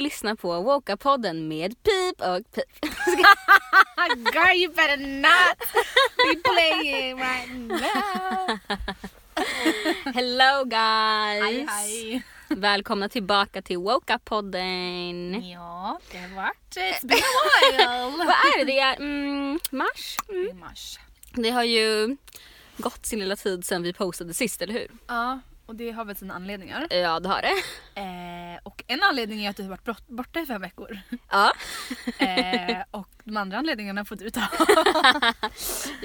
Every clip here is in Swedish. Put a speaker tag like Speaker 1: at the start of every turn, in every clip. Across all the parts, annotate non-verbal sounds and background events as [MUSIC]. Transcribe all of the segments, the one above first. Speaker 1: lyssnar på Woka-podden med Pip och Pip.
Speaker 2: Girl you better not be playing right now.
Speaker 1: Hello guys!
Speaker 2: Hej hej.
Speaker 1: Välkomna tillbaka till
Speaker 2: Mm.
Speaker 1: Woka-podden.
Speaker 2: Ja, det har varit... It's been a
Speaker 1: Vad [LAUGHS]
Speaker 2: while.
Speaker 1: är det? Det är mm, mars. Mm.
Speaker 2: I mars.
Speaker 1: Det har ju gått sin lilla tid sedan vi postade sist, eller hur?
Speaker 2: Ja, och det har väl sina anledningar.
Speaker 1: Ja, det har det.
Speaker 2: Eh, och en anledning är att du har varit bort, borta i fem
Speaker 1: [LAUGHS]
Speaker 2: veckor.
Speaker 1: Ja,
Speaker 2: Eh, och de andra anledningarna
Speaker 1: [LAUGHS]
Speaker 2: får du ta.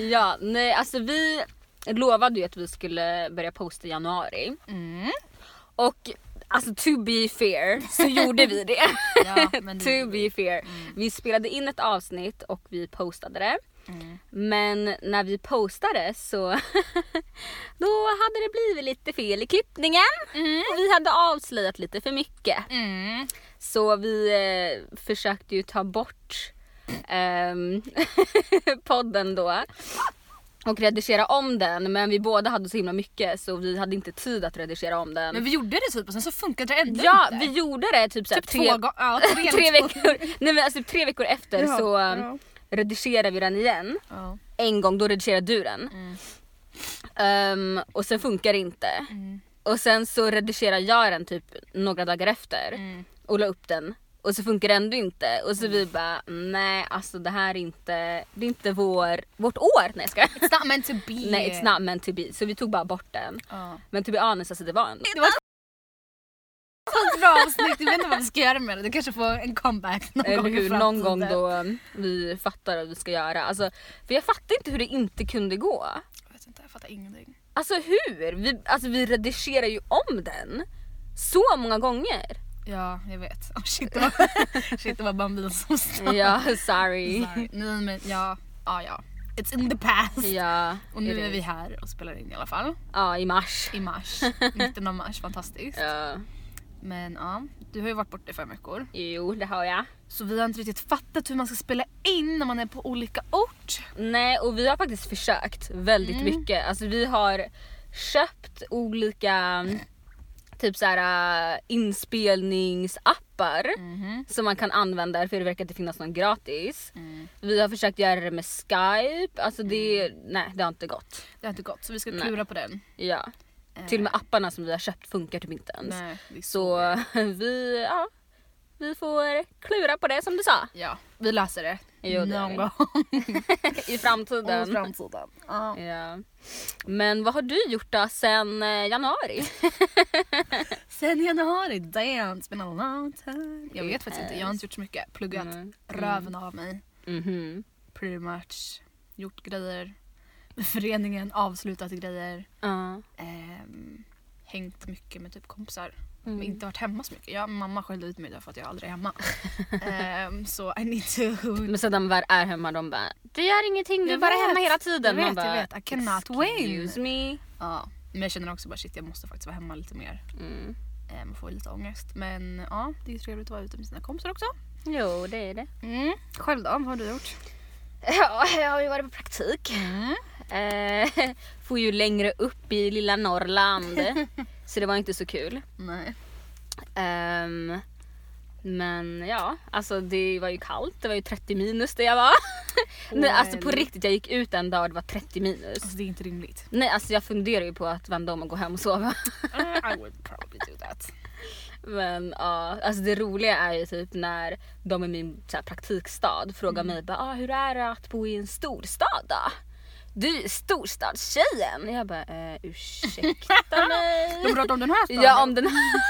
Speaker 1: ja nej, alltså vi lovade ju att vi skulle börja posta i januari.
Speaker 2: Mm.
Speaker 1: Och alltså to be fair så gjorde vi det.
Speaker 2: [LAUGHS] Ja,
Speaker 1: [LAUGHS]
Speaker 2: men det
Speaker 1: to be fair. Vi spelade in ett avsnitt och vi postade det.
Speaker 2: Mm.
Speaker 1: Men när vi postade så [LAUGHS] då hade det blivit lite fel i klippningen.
Speaker 2: Mm.
Speaker 1: Och vi hade avslöjat lite för mycket.
Speaker 2: Mm.
Speaker 1: Så vi eh, försökte ju ta bort ehm, [LAUGHS] podden då och redigera om den men vi båda hade så himla mycket så vi hade inte tid att redigera om den.
Speaker 2: Men vi gjorde det typ och sen så funkade det ändå
Speaker 1: ja,
Speaker 2: inte.
Speaker 1: vi gjorde det typ, såhär,
Speaker 2: Typ två gånger. Ja,
Speaker 1: [LAUGHS]
Speaker 2: tre,
Speaker 1: tre
Speaker 2: eller två.
Speaker 1: veckor, nej men alltså typ tre veckor efter
Speaker 2: Ja,
Speaker 1: så eh,
Speaker 2: ja.
Speaker 1: redigerade vi den igen.
Speaker 2: Ja.
Speaker 1: En gång, då redigerade du den. Ehm, och sen funkar det inte.
Speaker 2: Mm.
Speaker 1: Och sen så redigerade jag den typ några dagar efter
Speaker 2: Mm.
Speaker 1: och la upp den. Och så funkar det ändå inte. Och så vi bara, nej alltså det här är inte, det är inte vår, vårt år. Nej jag skojar.
Speaker 2: It's not meant to be.
Speaker 1: Nej it's not meant to be. Så vi tog bara bort den.
Speaker 2: Ja.
Speaker 1: Men to be honest alltså det var
Speaker 2: [LAUGHS]
Speaker 1: en...
Speaker 2: Det var ett sånt bra avsnitt, jag vet inte vad vi ska göra med det. Du kanske får en comeback någon
Speaker 1: Eller
Speaker 2: gång i
Speaker 1: Eh, hur, någon gång
Speaker 2: framtiden.
Speaker 1: då um, vi fattar vad vi ska göra. Alltså, för jag fattar inte hur det inte kunde gå.
Speaker 2: Jag vet inte, jag fattar ingenting.
Speaker 1: Alltså hur? Vi, alltså, vi redigerar ju om den så många
Speaker 2: [LAUGHS]
Speaker 1: gånger.
Speaker 2: Ja, jag vet. Oh, shit,
Speaker 1: [LAUGHS]
Speaker 2: det var, shit, det var Bambin som sa.
Speaker 1: Ja, sorry.
Speaker 2: Sorry. Nej men ja, ja ja. It's in the past.
Speaker 1: Ja,
Speaker 2: Och nu
Speaker 1: det-
Speaker 2: är vi här och spelar in i alla fall.
Speaker 1: Ja, i mars.
Speaker 2: I mars,
Speaker 1: [LAUGHS]
Speaker 2: mitten av mars, fantastiskt.
Speaker 1: Ja.
Speaker 2: Men ja, du har ju varit borta i fem veckor.
Speaker 1: Jo, det har jag.
Speaker 2: Så vi har inte riktigt fattat hur man ska spela in när man är på olika ort.
Speaker 1: Nej, och vi har faktiskt försökt väldigt
Speaker 2: Mm.
Speaker 1: mycket. Alltså vi har köpt olika typ så här, äh, inspelningsappar
Speaker 2: Mhm.
Speaker 1: som man kan använda för det verkar inte finnas någon gratis.
Speaker 2: Mm.
Speaker 1: Vi har försökt göra det med Skype. Alltså det, nej det har inte gått.
Speaker 2: Det har inte gått så vi ska
Speaker 1: Nej.
Speaker 2: klura på den.
Speaker 1: Ja. Till och med apparna som vi har köpt funkar typ inte ens.
Speaker 2: Eh. Nej, det är
Speaker 1: Så [LAUGHS] vi, ja, vi får klura på det som du sa
Speaker 2: Ja, vi löser det.
Speaker 1: Jo, det gör vi.
Speaker 2: Någon gång.
Speaker 1: i framtiden.
Speaker 2: [LAUGHS] Om framtiden. Ja.
Speaker 1: Ja. Men vad har du gjort då sen eh, januari?
Speaker 2: Sen januari, damn, it's been a long time. Jag vet faktiskt inte, jag har inte gjort så mycket. Pluggat
Speaker 1: Mm.
Speaker 2: röven av mig.
Speaker 1: Mhm.
Speaker 2: Pretty much. Gjort grejer. Med föreningen, avslutat grejer.
Speaker 1: Ja.
Speaker 2: Ehm, hängt mycket med typ kompisar.
Speaker 1: Mm.
Speaker 2: Men inte varit hemma så mycket. Jag, mamma skällde ut mig därför att jag aldrig
Speaker 1: [LAUGHS]
Speaker 2: är hemma. Ehm, så I need to...
Speaker 1: Men sedan väl är hemma de bara du gör ingenting du är
Speaker 2: Jag
Speaker 1: bara
Speaker 2: vet,
Speaker 1: hemma hela tiden.
Speaker 2: jag
Speaker 1: Man
Speaker 2: vet,
Speaker 1: bara,
Speaker 2: jag vet. I cannot
Speaker 1: excuse me.
Speaker 2: Ja. Men jag känner också bara shit jag måste faktiskt vara hemma lite mer.
Speaker 1: Mm.
Speaker 2: Eh, Man får lite ångest. Men ja, det är trevligt att vara ute med sina kompisar också.
Speaker 1: Jo det är det.
Speaker 2: Själv då, vad har du gjort?
Speaker 1: [LAUGHS] Ja, jag har ju varit på praktik. Eh, Mm. får ju längre upp i lilla Norrland. [LAUGHS] så det var inte så kul.
Speaker 2: Nej.
Speaker 1: Ehm, men ja, alltså det var ju kallt. Det var ju 30 minus där jag [LAUGHS] var. Nej, alltså på
Speaker 2: Well.
Speaker 1: riktigt, jag gick ut en dag och det var 30 minus.
Speaker 2: Alltså det är inte rimligt.
Speaker 1: Nej, alltså jag funderar ju på att vända om och gå hem och sova.
Speaker 2: Eh, I would probably do that.
Speaker 1: Men ja, alltså det roliga är ju typ när de i min så här, praktikstad frågar
Speaker 2: Mm.
Speaker 1: mig bara, ah, hur är det att bo i en storstad då? Du är ju storstadstjejen. Jag bara, eh,
Speaker 2: [LAUGHS]
Speaker 1: ursäkta mig.
Speaker 2: De pratar om den här staden?
Speaker 1: Ja, om den här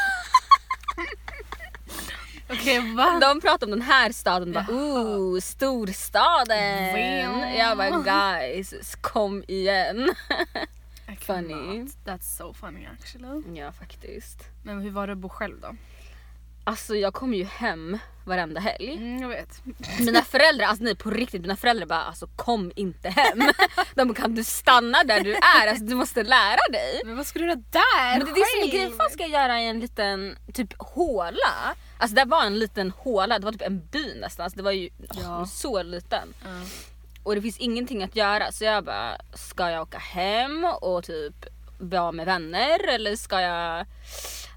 Speaker 2: Okej va?
Speaker 1: De pratar om den här staden bara ooh storstaden.
Speaker 2: Wow.
Speaker 1: Jag bara guys kom igen.
Speaker 2: I cannot.
Speaker 1: Funny.
Speaker 2: That's so funny actually.
Speaker 1: Ja faktiskt.
Speaker 2: Men hur var det att bo själv då?
Speaker 1: Alltså jag kom ju hem varenda helg.
Speaker 2: Mm, jag vet.
Speaker 1: Mina föräldrar, alltså nej på riktigt, mina föräldrar bara alltså kom inte hem. [LAUGHS] De bara kan du stanna där du är? Alltså du måste lära dig.
Speaker 2: Men vad ska du göra där?
Speaker 1: Men det är det som är grejen, vad ska jag göra i en liten typ håla? Alltså det var en liten håla, det var typ en by nästan. Alltså, det var ju
Speaker 2: Ja.
Speaker 1: så liten. och det finns ingenting att göra så jag bara, ska jag åka hem och typ vara med vänner eller ska jag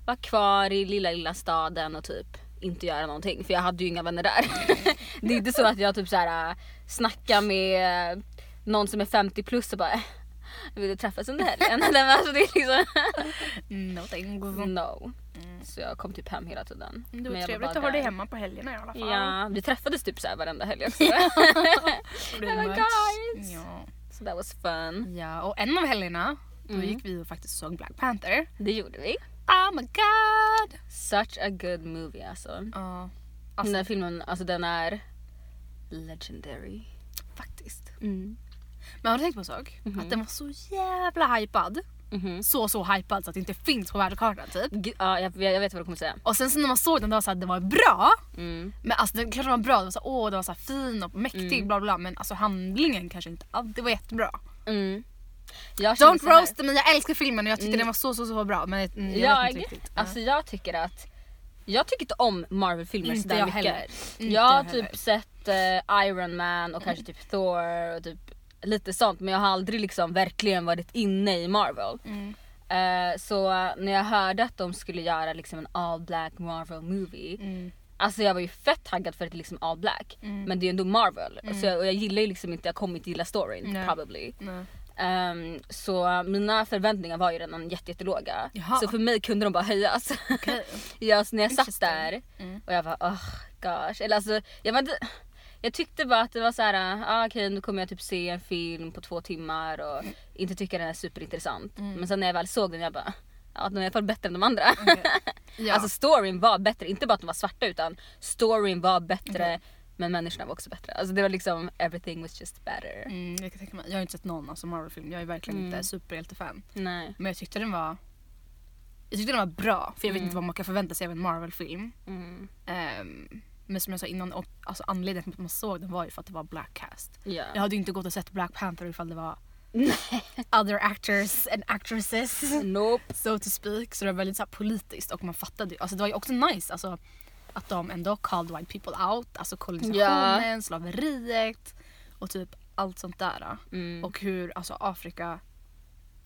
Speaker 1: vara kvar i lilla lilla staden och typ inte göra någonting för jag hade ju inga vänner där. [LAUGHS] det är inte så att jag typ så här äh, snackar med äh, någon som är 50 plus och bara "Eh, vill du träffas under
Speaker 2: [LAUGHS]
Speaker 1: helgen? Nej, men alltså det är liksom
Speaker 2: Mm, No thanks.
Speaker 1: no. Så jag kom typ hem hela tiden.
Speaker 2: Mm. Det
Speaker 1: Mm. Men jag
Speaker 2: var trevligt
Speaker 1: bara
Speaker 2: att ha dig
Speaker 1: där.
Speaker 2: hemma på helgerna i alla fall.
Speaker 1: Ja, vi träffades typ så här varenda helg
Speaker 2: [LAUGHS]
Speaker 1: också.
Speaker 2: Pretty
Speaker 1: Oh my
Speaker 2: much.
Speaker 1: guys.
Speaker 2: Ja.
Speaker 1: så that was fun.
Speaker 2: ja, och en av helgerna då
Speaker 1: Mm.
Speaker 2: gick vi och faktiskt såg Black Panther.
Speaker 1: Det gjorde vi.
Speaker 2: Oh my god!
Speaker 1: Such a good movie alltså.
Speaker 2: Ja,
Speaker 1: Den
Speaker 2: Alltså-
Speaker 1: där filmen, alltså den är legendary.
Speaker 2: faktiskt.
Speaker 1: Mm.
Speaker 2: Men har du tänkt på en sak?
Speaker 1: Mhm. Mm.
Speaker 2: Att den var så jävla hypad. Så så hypad så att det inte finns på världskartan typ.
Speaker 1: Ja, jag, jag vet vad du kommer säga.
Speaker 2: Och sen så när man såg den då var det så att den var bra.
Speaker 1: Mm.
Speaker 2: Men alltså den kanske var bra, den var så här, åh den var så här fin och mäktig bla bla men alltså handlingen kanske inte alltid var jättebra.
Speaker 1: Mm. Jag känner så
Speaker 2: Don't
Speaker 1: här-
Speaker 2: roast me, jag älskar filmen och jag tyckte
Speaker 1: Mm.
Speaker 2: den var så så så bra men mm, jag, jag vet
Speaker 1: Jag,
Speaker 2: inte riktigt.
Speaker 1: alltså, jag tycker att jag tycker inte om Marvel-filmer
Speaker 2: Inte
Speaker 1: sådär
Speaker 2: jag
Speaker 1: mycket.
Speaker 2: heller. Inte
Speaker 1: jag har
Speaker 2: jag heller.
Speaker 1: typ sett eh, Iron Man och kanske typ Thor och typ lite sånt men jag har aldrig liksom verkligen varit inne i Marvel.
Speaker 2: Mm.
Speaker 1: Eh, så när jag hörde att de skulle göra liksom en all black Marvel movie
Speaker 2: Mm.
Speaker 1: Alltså jag var ju fett taggad för att det är liksom all black.
Speaker 2: Mm.
Speaker 1: Men det är ju ändå Marvel. Så jag, och jag gillar ju liksom inte, jag kommer inte gilla storyn
Speaker 2: Nej.
Speaker 1: probably.
Speaker 2: Nej.
Speaker 1: [LAUGHS] Ehm, så mina förväntningar var ju redan jätte, jättelåga.
Speaker 2: Jaha.
Speaker 1: Så för mig kunde de bara höjas.
Speaker 2: Okej.
Speaker 1: [LAUGHS] ja, så när jag satt
Speaker 2: Interesting.
Speaker 1: där
Speaker 2: Mm.
Speaker 1: och jag var oh gosh. Eller alltså, jag, var inte, jag tyckte bara att det var så här, ah, okej nu kommer jag typ se en film på två timmar och
Speaker 2: Mm.
Speaker 1: inte tycka den är superintressant. Men sen när jag väl såg den jag bara, ja den är i alla fall bättre än de andra.
Speaker 2: Ja.
Speaker 1: Alltså storyn var bättre, inte bara att de var svarta utan storyn var bättre
Speaker 2: Mm.
Speaker 1: men människorna var också bättre. Alltså det var liksom everything was just better.
Speaker 2: mm, jag, kan tänka mig, jag har inte sett någon alltså, Marvel-film, jag är verkligen
Speaker 1: Mm.
Speaker 2: inte superhjältefan.
Speaker 1: Nej.
Speaker 2: Men jag tyckte den var jag tyckte den var bra för jag vet
Speaker 1: Mm.
Speaker 2: inte vad man kan förvänta sig av en Marvel-film.
Speaker 1: Mm.
Speaker 2: Ehm, men som jag sa innan, och- alltså anledningen till att man såg den var ju för att det var black cast.
Speaker 1: Ja.
Speaker 2: Jag hade ju inte gått och sett Black Panther ifall det var other actors and actresses.
Speaker 1: Nope.
Speaker 2: So to speak. Så det var väldigt så här politiskt och man fattade ju. Alltså det var ju också nice alltså, att de ändå called white people out. Alltså kolonisationen, slaveriet och typ allt sånt där. då.
Speaker 1: Mm.
Speaker 2: Och hur alltså, Afrika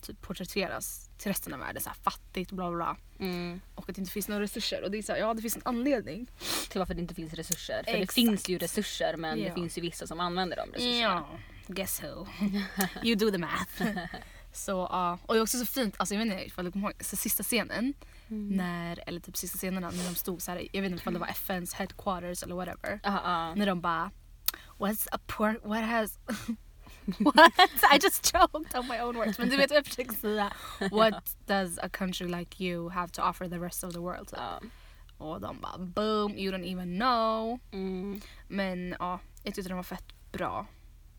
Speaker 2: typ porträtteras till resten av världen. Så här fattigt bla bla, bla.
Speaker 1: Mm.
Speaker 2: Och att det inte finns några resurser. Och det är så här, ja det finns en anledning.
Speaker 1: Till varför det inte finns resurser. För det
Speaker 2: Exakt.
Speaker 1: finns ju resurser men det
Speaker 2: Ja.
Speaker 1: finns ju vissa som använder de resurserna.
Speaker 2: Ja, guess [LAUGHS] who. You do the math. så, ja. och det är också så fint, alltså, jag vet inte ifall du kommer ihåg, så sista scenen. När, eller typ sista scenerna när de stod så här, jag vet inte ifall det var FNs headquarters eller whatever.
Speaker 1: Ja. Ah,
Speaker 2: När de bara What's a poor, what has [LAUGHS] What? I just choked on my own words. Men du vet vad jag försöker säga. What does a country like you have to offer the rest of the world? Typ.
Speaker 1: ah.
Speaker 2: Och de bara boom, you don't even know.
Speaker 1: Mm.
Speaker 2: Men ja, jag tyckte den var fett bra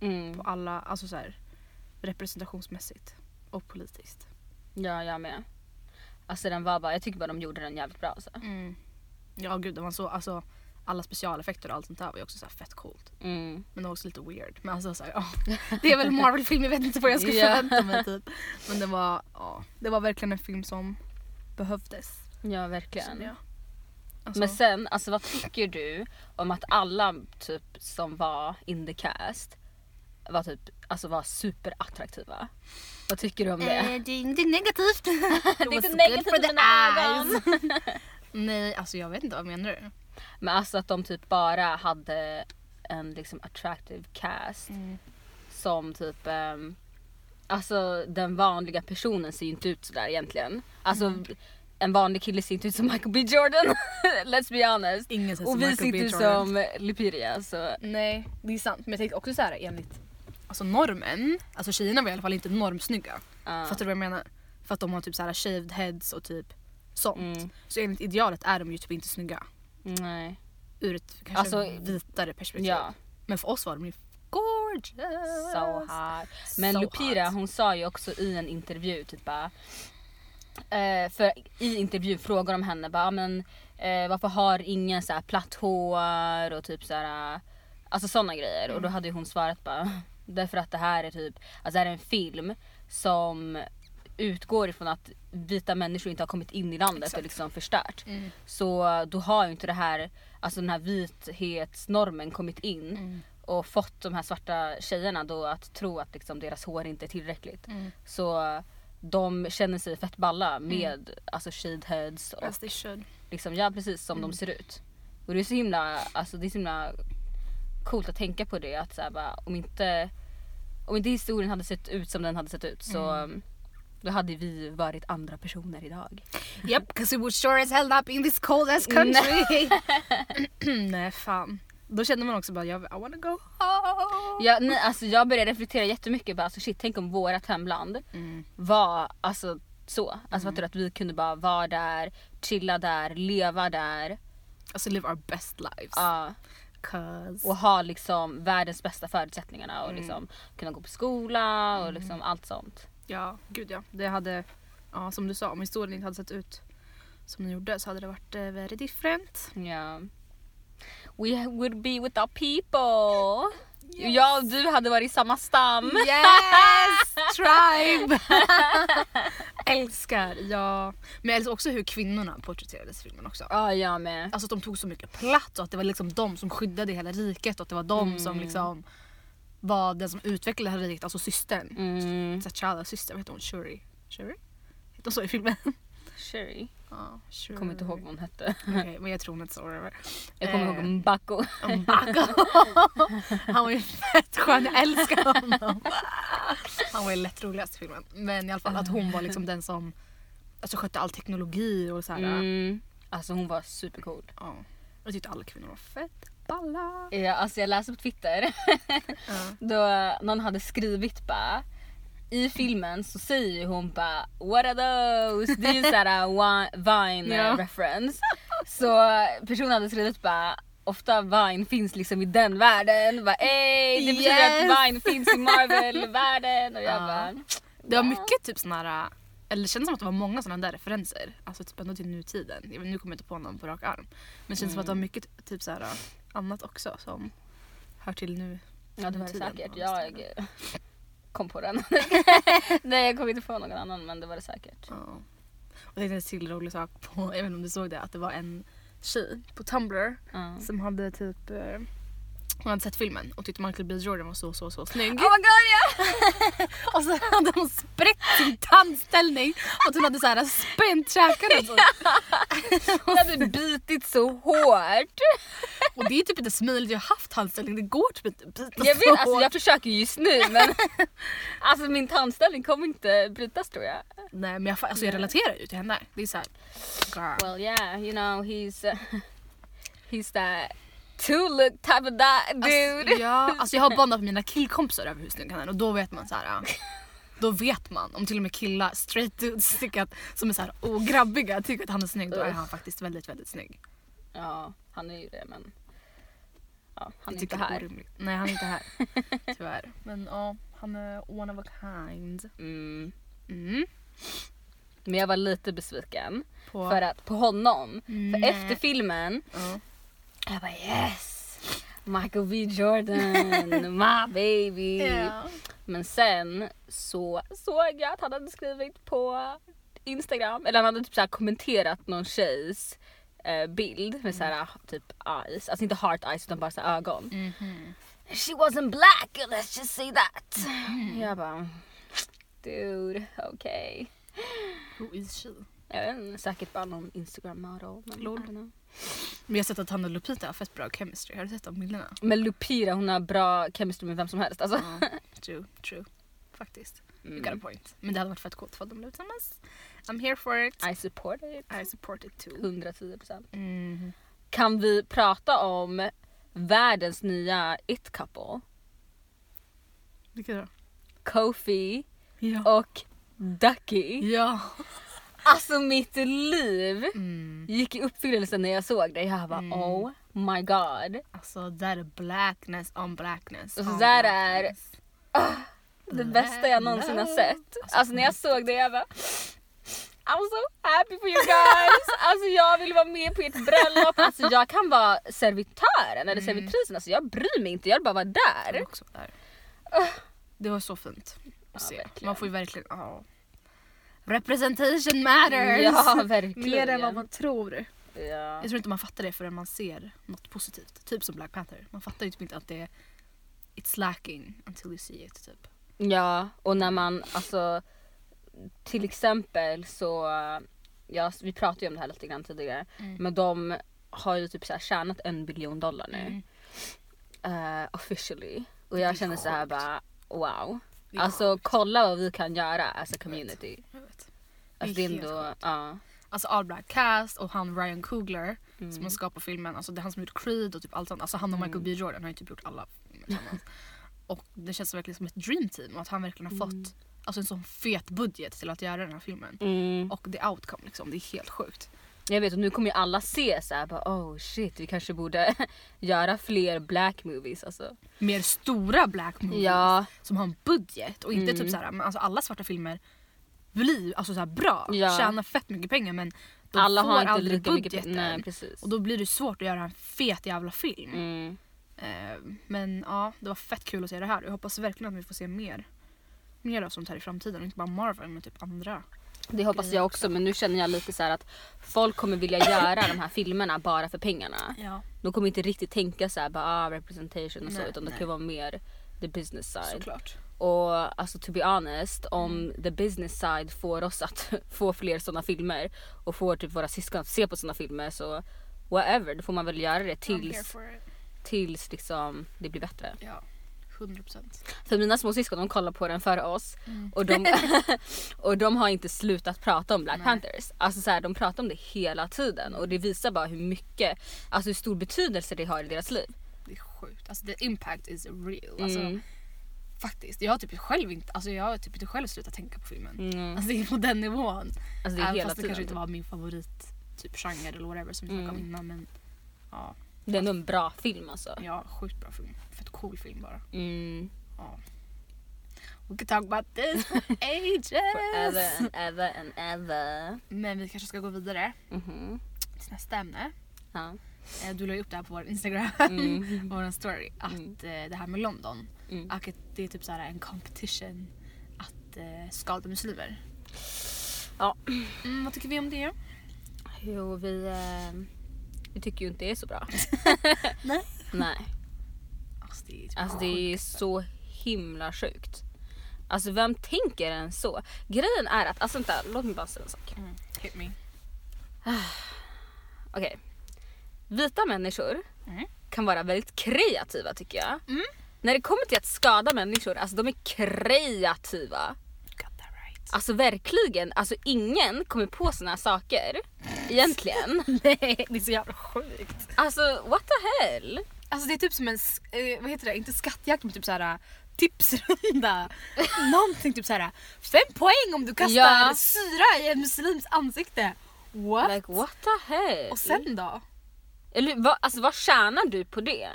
Speaker 1: Mm.
Speaker 2: på alla, alltså så här, representationsmässigt och politiskt.
Speaker 1: Ja, jag med. Alltså den var bara, jag tycker bara de gjorde den jävligt bra alltså.
Speaker 2: Mm. Ja gud, det var så, alltså alla specialeffekter och allt sånt där var ju också så här fett coolt.
Speaker 1: Mm.
Speaker 2: Men det var också lite weird. Men alltså så här, ja. Det är väl en Marvel-film, jag vet inte vad jag ska
Speaker 1: Ja.
Speaker 2: förvänta mig typ. Men det var, ja, det var verkligen en film som behövdes.
Speaker 1: Ja, verkligen.
Speaker 2: känner jag. Alltså,
Speaker 1: Men sen, alltså vad tycker du om att alla typ som var in the cast var typ, alltså var superattraktiva? Vad tycker du om det?
Speaker 2: eh, det, är inte
Speaker 1: [LAUGHS]
Speaker 2: negativt.
Speaker 1: det
Speaker 2: was
Speaker 1: är
Speaker 2: good
Speaker 1: inte negativt
Speaker 2: for
Speaker 1: för
Speaker 2: the
Speaker 1: mina ögon.
Speaker 2: [LAUGHS] Nej, alltså jag vet inte, vad menar du?
Speaker 1: Men alltså att de typ bara hade en liksom attractive cast som typ ehm, Alltså den vanliga personen ser ju inte ut sådär egentligen. Alltså
Speaker 2: Mm.
Speaker 1: en vanlig kille ser inte ut som Michael B Jordan. [LAUGHS] Let's be honest.
Speaker 2: Ingen ser ut som
Speaker 1: Och vi
Speaker 2: Michael
Speaker 1: ser inte
Speaker 2: B.
Speaker 1: ut
Speaker 2: Jordan.
Speaker 1: som Lipiria så
Speaker 2: Nej, det är sant. Men jag tänkte också så här enligt alltså normen, alltså tjejerna var i alla fall inte normsnygga.
Speaker 1: ja.
Speaker 2: Fattar du vad jag menar? För att de har typ så här shaved heads och typ sånt.
Speaker 1: Mm.
Speaker 2: Så enligt idealet är de ju typ inte snygga.
Speaker 1: Nej.
Speaker 2: Ur ett kanske
Speaker 1: Alltså,
Speaker 2: vitare perspektiv.
Speaker 1: Ja.
Speaker 2: Men för oss var de ju gorgeous.
Speaker 1: So hot. Men
Speaker 2: So
Speaker 1: Lupira
Speaker 2: hot.
Speaker 1: hon sa ju också i en intervju typ bara, eh, för i intervjun frågar de henne bara, men, eh, varför har ingen så här platt hår och typ så här, eh, alltså sådana grejer. Och då
Speaker 2: Mm.
Speaker 1: hade ju hon svarat bara [LAUGHS] därför att det här är typ, alltså det här är en film som utgår ifrån att vita människor inte har kommit in i landet och
Speaker 2: Exakt.
Speaker 1: liksom förstört.
Speaker 2: Mm.
Speaker 1: Så då har ju inte det här, alltså den här vithetsnormen kommit in
Speaker 2: Mm.
Speaker 1: och fått de här svarta tjejerna då att tro att liksom deras hår inte är tillräckligt.
Speaker 2: Mm.
Speaker 1: Så de känner sig fett balla med alltså shade heads och
Speaker 2: As they should. Mm.
Speaker 1: liksom, ja precis som de ser ut. Och det är så himla, alltså det är så himla coolt att tänka på det att så här, bara, om inte om inte historien hade sett ut som den hade sett ut så
Speaker 2: Mm.
Speaker 1: då hade vi varit andra personer idag.
Speaker 2: Yep, because we would sure as hell not be in this
Speaker 1: [LAUGHS]
Speaker 2: cold ass country. [CLEARS THROAT] Nej fan. Då känner man också bara jag, I wanna go home.
Speaker 1: Jag, nej, alltså jag började reflektera jättemycket på alltså shit tänk om vårat hemland
Speaker 2: Mm.
Speaker 1: var alltså så. Alltså fattar du att vi kunde bara vara där, chilla där, leva där
Speaker 2: Alltså live our best lives.
Speaker 1: ja,
Speaker 2: 'Cause-
Speaker 1: och ha liksom världens bästa förutsättningarna och
Speaker 2: Mm.
Speaker 1: liksom kunna gå på skola och liksom allt sånt.
Speaker 2: Ja, gud ja. Det hade, ja, som du sa, om historien inte hade sett ut som den gjorde så hade det varit eh, very different.
Speaker 1: Ja. We would be with our people. Jag och du hade varit i samma stam.
Speaker 2: Yes! Tribe! [LAUGHS] älskar, ja. Men jag älskar också hur kvinnorna porträtterades i filmen också.
Speaker 1: Ja, jag med.
Speaker 2: Alltså att de tog så mycket plats och att det var liksom de som skyddade hela riket och att det var de som liksom var den som utvecklade hela riket, alltså systern. Mm.
Speaker 1: Mm.
Speaker 2: T'Challas syster, vad heter hon? Shuri? Shuri? Hette hon så i filmen?
Speaker 1: Sherry.
Speaker 2: Ja, Shuri.
Speaker 1: Kommer inte ihåg vad hon hette.
Speaker 2: Okej, men jag tror hon hette så. whatever.
Speaker 1: Jag kommer
Speaker 2: Eh.
Speaker 1: ihåg Mbacco.
Speaker 2: Mbacco. [LAUGHS] Han var ju fett skön, jag älskar honom. [LAUGHS] Han var ju lätt roligast i filmen. Men i alla fall att hon var liksom den som alltså, skötte all teknologi och så här.
Speaker 1: Mm. Alltså hon var supercool.
Speaker 2: Ja. Jag tyckte alla kvinnor var fett balla.
Speaker 1: Ja, alltså jag läste på Twitter
Speaker 2: Ja.
Speaker 1: då någon hade skrivit bara i filmen så säger ju hon bara “What are those?” Det är ju
Speaker 2: [LAUGHS]
Speaker 1: såhär Vine
Speaker 2: Ja.
Speaker 1: eh, reference. Så personen hade skrivit bara Ofta Vine finns liksom i den världen. Bara, Ey, det betyder
Speaker 2: Yes.
Speaker 1: att Vine finns i Marvel-världen. Och jag
Speaker 2: Ja.
Speaker 1: bara...
Speaker 2: Det
Speaker 1: "Ja."
Speaker 2: var mycket typ såna här, eller det kändes som att det var många såna där referenser. Alltså typ ändå till nutiden. Jag vet, nu kommer jag inte på någon på rak arm. Men det känns som att det var mycket typ så här, annat också som hör till nu.
Speaker 1: Ja det var det
Speaker 2: nutiden.
Speaker 1: säkert.
Speaker 2: Ja,
Speaker 1: Jag
Speaker 2: just det.
Speaker 1: eh, [LAUGHS] kom på
Speaker 2: [LAUGHS]
Speaker 1: den. Nej jag kom inte på någon annan men det var det säkert.
Speaker 2: Ja. Och jag tänkte en till rolig sak på, [LAUGHS] jag vet inte om du såg det, att det var en tjej på Tumblr
Speaker 1: Ja.
Speaker 2: som hade typ eh, hon hade sett filmen och tyckte Michael B Jordan var så så så snygg.
Speaker 1: Oh my god ja!
Speaker 2: Och så hade hon spräckt sin tandställning och hon hade så här spänt käkarna. så.
Speaker 1: Hon hade bitit så hårt.
Speaker 2: Och det är typ inte smidigt, jag har haft tandställning, det går typ inte att bita
Speaker 1: Jag
Speaker 2: så
Speaker 1: vet, alltså
Speaker 2: hårt.
Speaker 1: jag försöker just nu men [LAUGHS] alltså min tandställning kommer inte brytas tror jag.
Speaker 2: Nej men jag, fa- alltså, jag relaterar ju till henne. Det är så här, girl.
Speaker 1: Well yeah, you know he's uh, he's that two look type of that dude.
Speaker 2: Alltså, ja, alltså jag har bondat med mina killkompisar över hur snygg han är och då vet man så här. ja. Då vet man om till och med killar, straight dudes tycker att, som är så här ograbbiga tycker att han är snygg då är han faktiskt väldigt väldigt snygg.
Speaker 1: Ja han är ju det men ja, han
Speaker 2: Jag
Speaker 1: är inte
Speaker 2: tycker det
Speaker 1: här.
Speaker 2: orimligt. Nej han är inte här. [LAUGHS] Tyvärr. Men ja, han är one of a kind.
Speaker 1: Mm.
Speaker 2: Mm.
Speaker 1: Men jag var lite besviken
Speaker 2: På,
Speaker 1: för att, på honom. För
Speaker 2: Nej.
Speaker 1: efter filmen
Speaker 2: ja.
Speaker 1: Jag bara yes! Michael B Jordan, [LAUGHS] my baby! Men sen så såg jag att han hade skrivit på Instagram, eller han hade typ så här kommenterat någon tjejs eh, bild med så här typ eyes, alltså inte heart eyes utan bara så här ögon. Mm-hmm.
Speaker 2: Mhm.
Speaker 1: She wasn't black, let's just say that! Jag bara dude, okej.
Speaker 2: Who is she?
Speaker 1: Jag vet inte, säkert bara någon Instagram model. Men, I
Speaker 2: Lol.
Speaker 1: don't know.
Speaker 2: Men jag har sett att han och Lupita har fett bra chemistry. Har du sett de bilderna?
Speaker 1: men Lupira hon har bra chemistry med vem som helst alltså.
Speaker 2: Ja, [LAUGHS] Mm. true, true. Faktiskt. You
Speaker 1: Mm.
Speaker 2: got a point. Men det hade varit fett coolt för dem blev tillsammans. I'm here for it.
Speaker 1: I support it.
Speaker 2: I support it too.
Speaker 1: 110 procent.
Speaker 2: Mm.
Speaker 1: Kan vi prata om världens nya it couple?
Speaker 2: Vilka då?
Speaker 1: Kofi
Speaker 2: Ja.
Speaker 1: och Ducky.
Speaker 2: ja.
Speaker 1: Alltså mitt liv
Speaker 2: Mm.
Speaker 1: gick i uppfyllelse när jag såg det. Jag bara oh my god.
Speaker 2: Alltså där är blackness on blackness.
Speaker 1: Alltså,
Speaker 2: on
Speaker 1: där är-
Speaker 2: blackness.
Speaker 1: Det
Speaker 2: Mm.
Speaker 1: bästa jag någonsin har sett. Alltså när jag såg det jag bara I'm so happy for you
Speaker 2: [LAUGHS]
Speaker 1: guys! Alltså jag vill vara med på ert bröllop. Alltså jag kan vara servitören
Speaker 2: Mm.
Speaker 1: eller servitrisen. Alltså jag bryr mig inte, jag vill bara vara
Speaker 2: Jag
Speaker 1: där.
Speaker 2: var också där. Det var så fint att se.
Speaker 1: Ah. verkligen.
Speaker 2: Man får ju verkligen... ja. Representation matters! [LAUGHS]
Speaker 1: Ja verkligen.
Speaker 2: Mer än vad man tror.
Speaker 1: Ja.
Speaker 2: Jag tror inte man fattar det förrän man ser något positivt. Typ som Black Panther. Man fattar ju typ inte att det är... It's lacking until you see it typ.
Speaker 1: Ja, och när man alltså
Speaker 2: Mm.
Speaker 1: till exempel så, ja, vi pratade ju om det här lite grann tidigare, men de har ju typ så här tjänat en biljon dollar nu.
Speaker 2: Mm.
Speaker 1: eh, officially. Och
Speaker 2: Det är
Speaker 1: jag känner så här
Speaker 2: sjukt.
Speaker 1: bara wow.
Speaker 2: Det är
Speaker 1: Alltså kolla vad vi kan göra as a community.
Speaker 2: Jag vet.
Speaker 1: Alltså
Speaker 2: Det
Speaker 1: det
Speaker 2: är
Speaker 1: är ändå, ja.
Speaker 2: Alltså all black cast och han Ryan Coogler som
Speaker 1: Mm.
Speaker 2: har skapat filmen. Alltså det är han som har gjort Creed och typ allt sånt. Alltså han och Michael B Jordan har ju typ gjort alla filmer tillsammans. och det känns verkligen som ett dream team och att han verkligen har fått alltså, en sån fet budget till att göra den här filmen.
Speaker 1: Mm.
Speaker 2: Och the outcome liksom, det är helt sjukt.
Speaker 1: Jag vet och nu kommer ju alla se så här bara oh shit vi kanske borde [LAUGHS] göra fler black movies alltså.
Speaker 2: Mer stora black movies
Speaker 1: Ja,
Speaker 2: som har en budget och inte
Speaker 1: Mm.
Speaker 2: typ såhär, men alltså alla svarta filmer blir alltså såhär bra,
Speaker 1: Ja.
Speaker 2: tjänar fett mycket pengar men de
Speaker 1: alla
Speaker 2: får
Speaker 1: har inte
Speaker 2: aldrig
Speaker 1: lika mycket
Speaker 2: budgeten.
Speaker 1: pengar. Nej precis.
Speaker 2: och då blir det svårt att göra en fet jävla film.
Speaker 1: Mm.
Speaker 2: Eh, men ja, det var fett kul att se det här. Jag hoppas verkligen att vi får se mer. Mer av sånt här i framtiden och inte bara Marvel men typ andra.
Speaker 1: Det hoppas jag också men nu känner jag lite så här att folk kommer vilja göra de här filmerna bara för pengarna.
Speaker 2: Ja,
Speaker 1: De kommer inte riktigt tänka så här bara ah, representation och så
Speaker 2: Nej,
Speaker 1: utan det
Speaker 2: nej.
Speaker 1: kan vara mer the business side.
Speaker 2: såklart. Mm.
Speaker 1: Och alltså to be honest, om the business side får oss att [LAUGHS] få fler sådana filmer och får typ våra syskon att se på sådana filmer så whatever, då får man väl göra det tills, tills liksom det blir bättre.
Speaker 2: Ja, 100 procent.
Speaker 1: För mina småsyskon de kollar på den före oss
Speaker 2: Mm.
Speaker 1: och, de,
Speaker 2: [LAUGHS]
Speaker 1: och de har inte slutat prata om Black
Speaker 2: Nej.
Speaker 1: Panthers. Alltså så här, de pratar om det hela tiden och det visar bara hur mycket, alltså hur stor betydelse det har i deras liv.
Speaker 2: Det är sjukt. Alltså the impact is real.
Speaker 1: Mm.
Speaker 2: Alltså, Faktiskt. Jag har typ själv inte, alltså jag har typ inte själv slutat tänka på filmen.
Speaker 1: Mm.
Speaker 2: Alltså det är på den nivån.
Speaker 1: Alltså det är
Speaker 2: Även
Speaker 1: hela
Speaker 2: fast det kanske inte
Speaker 1: tiden.
Speaker 2: var min favorit typ genre eller whatever som vi
Speaker 1: Mm.
Speaker 2: snackade om innan men ja,
Speaker 1: Det är ändå en bra film alltså.
Speaker 2: ja, sjukt bra film. Fett cool film bara.
Speaker 1: Mm.
Speaker 2: Ja. We could talk about [LAUGHS] this for ages!
Speaker 1: Forever and ever and ever.
Speaker 2: Men vi kanske ska gå vidare
Speaker 1: Mhm.
Speaker 2: till nästa ämne.
Speaker 1: Ja.
Speaker 2: Eh, Du la ju upp det här på vår Instagram,
Speaker 1: Mm.
Speaker 2: på [LAUGHS] vår story, att
Speaker 1: Mm.
Speaker 2: eh, det här med London,
Speaker 1: Mm.
Speaker 2: att det är typ så här en competition att eh, skada muslimer.
Speaker 1: Ja.
Speaker 2: Mm, vad tycker vi om det?
Speaker 1: Jo, vi, eh, vi tycker ju inte det är så
Speaker 2: [LAUGHS]
Speaker 1: bra.
Speaker 2: Nej.
Speaker 1: Nej.
Speaker 2: Alltså det är, typ
Speaker 1: Alltså det är så himla sjukt. Alltså vem tänker än så? Grejen är att, alltså vänta, låt mig bara säga en sak.
Speaker 2: Mm. Hit me.
Speaker 1: Okej. Vita människor
Speaker 2: Mm.
Speaker 1: kan vara väldigt kreativa tycker jag.
Speaker 2: Mm.
Speaker 1: När det kommer till att skada människor, alltså de är kreativa.
Speaker 2: Got that right.
Speaker 1: Alltså verkligen, alltså ingen kommer på såna här saker
Speaker 2: [LAUGHS]
Speaker 1: egentligen.
Speaker 2: Nej, [LAUGHS] det är så jävla sjukt.
Speaker 1: Alltså what the hell?
Speaker 2: Alltså det är typ som en, sk- eh, vad heter det, inte skattjakt men typ såhär [LAUGHS] tipsrunda. Någonting typ såhär, fem poäng om du kastar
Speaker 1: Ja.
Speaker 2: syra i en muslims ansikte. What?
Speaker 1: Like what the hell?
Speaker 2: Och sen då?
Speaker 1: Eller vad, alltså, vad tjänar du på det?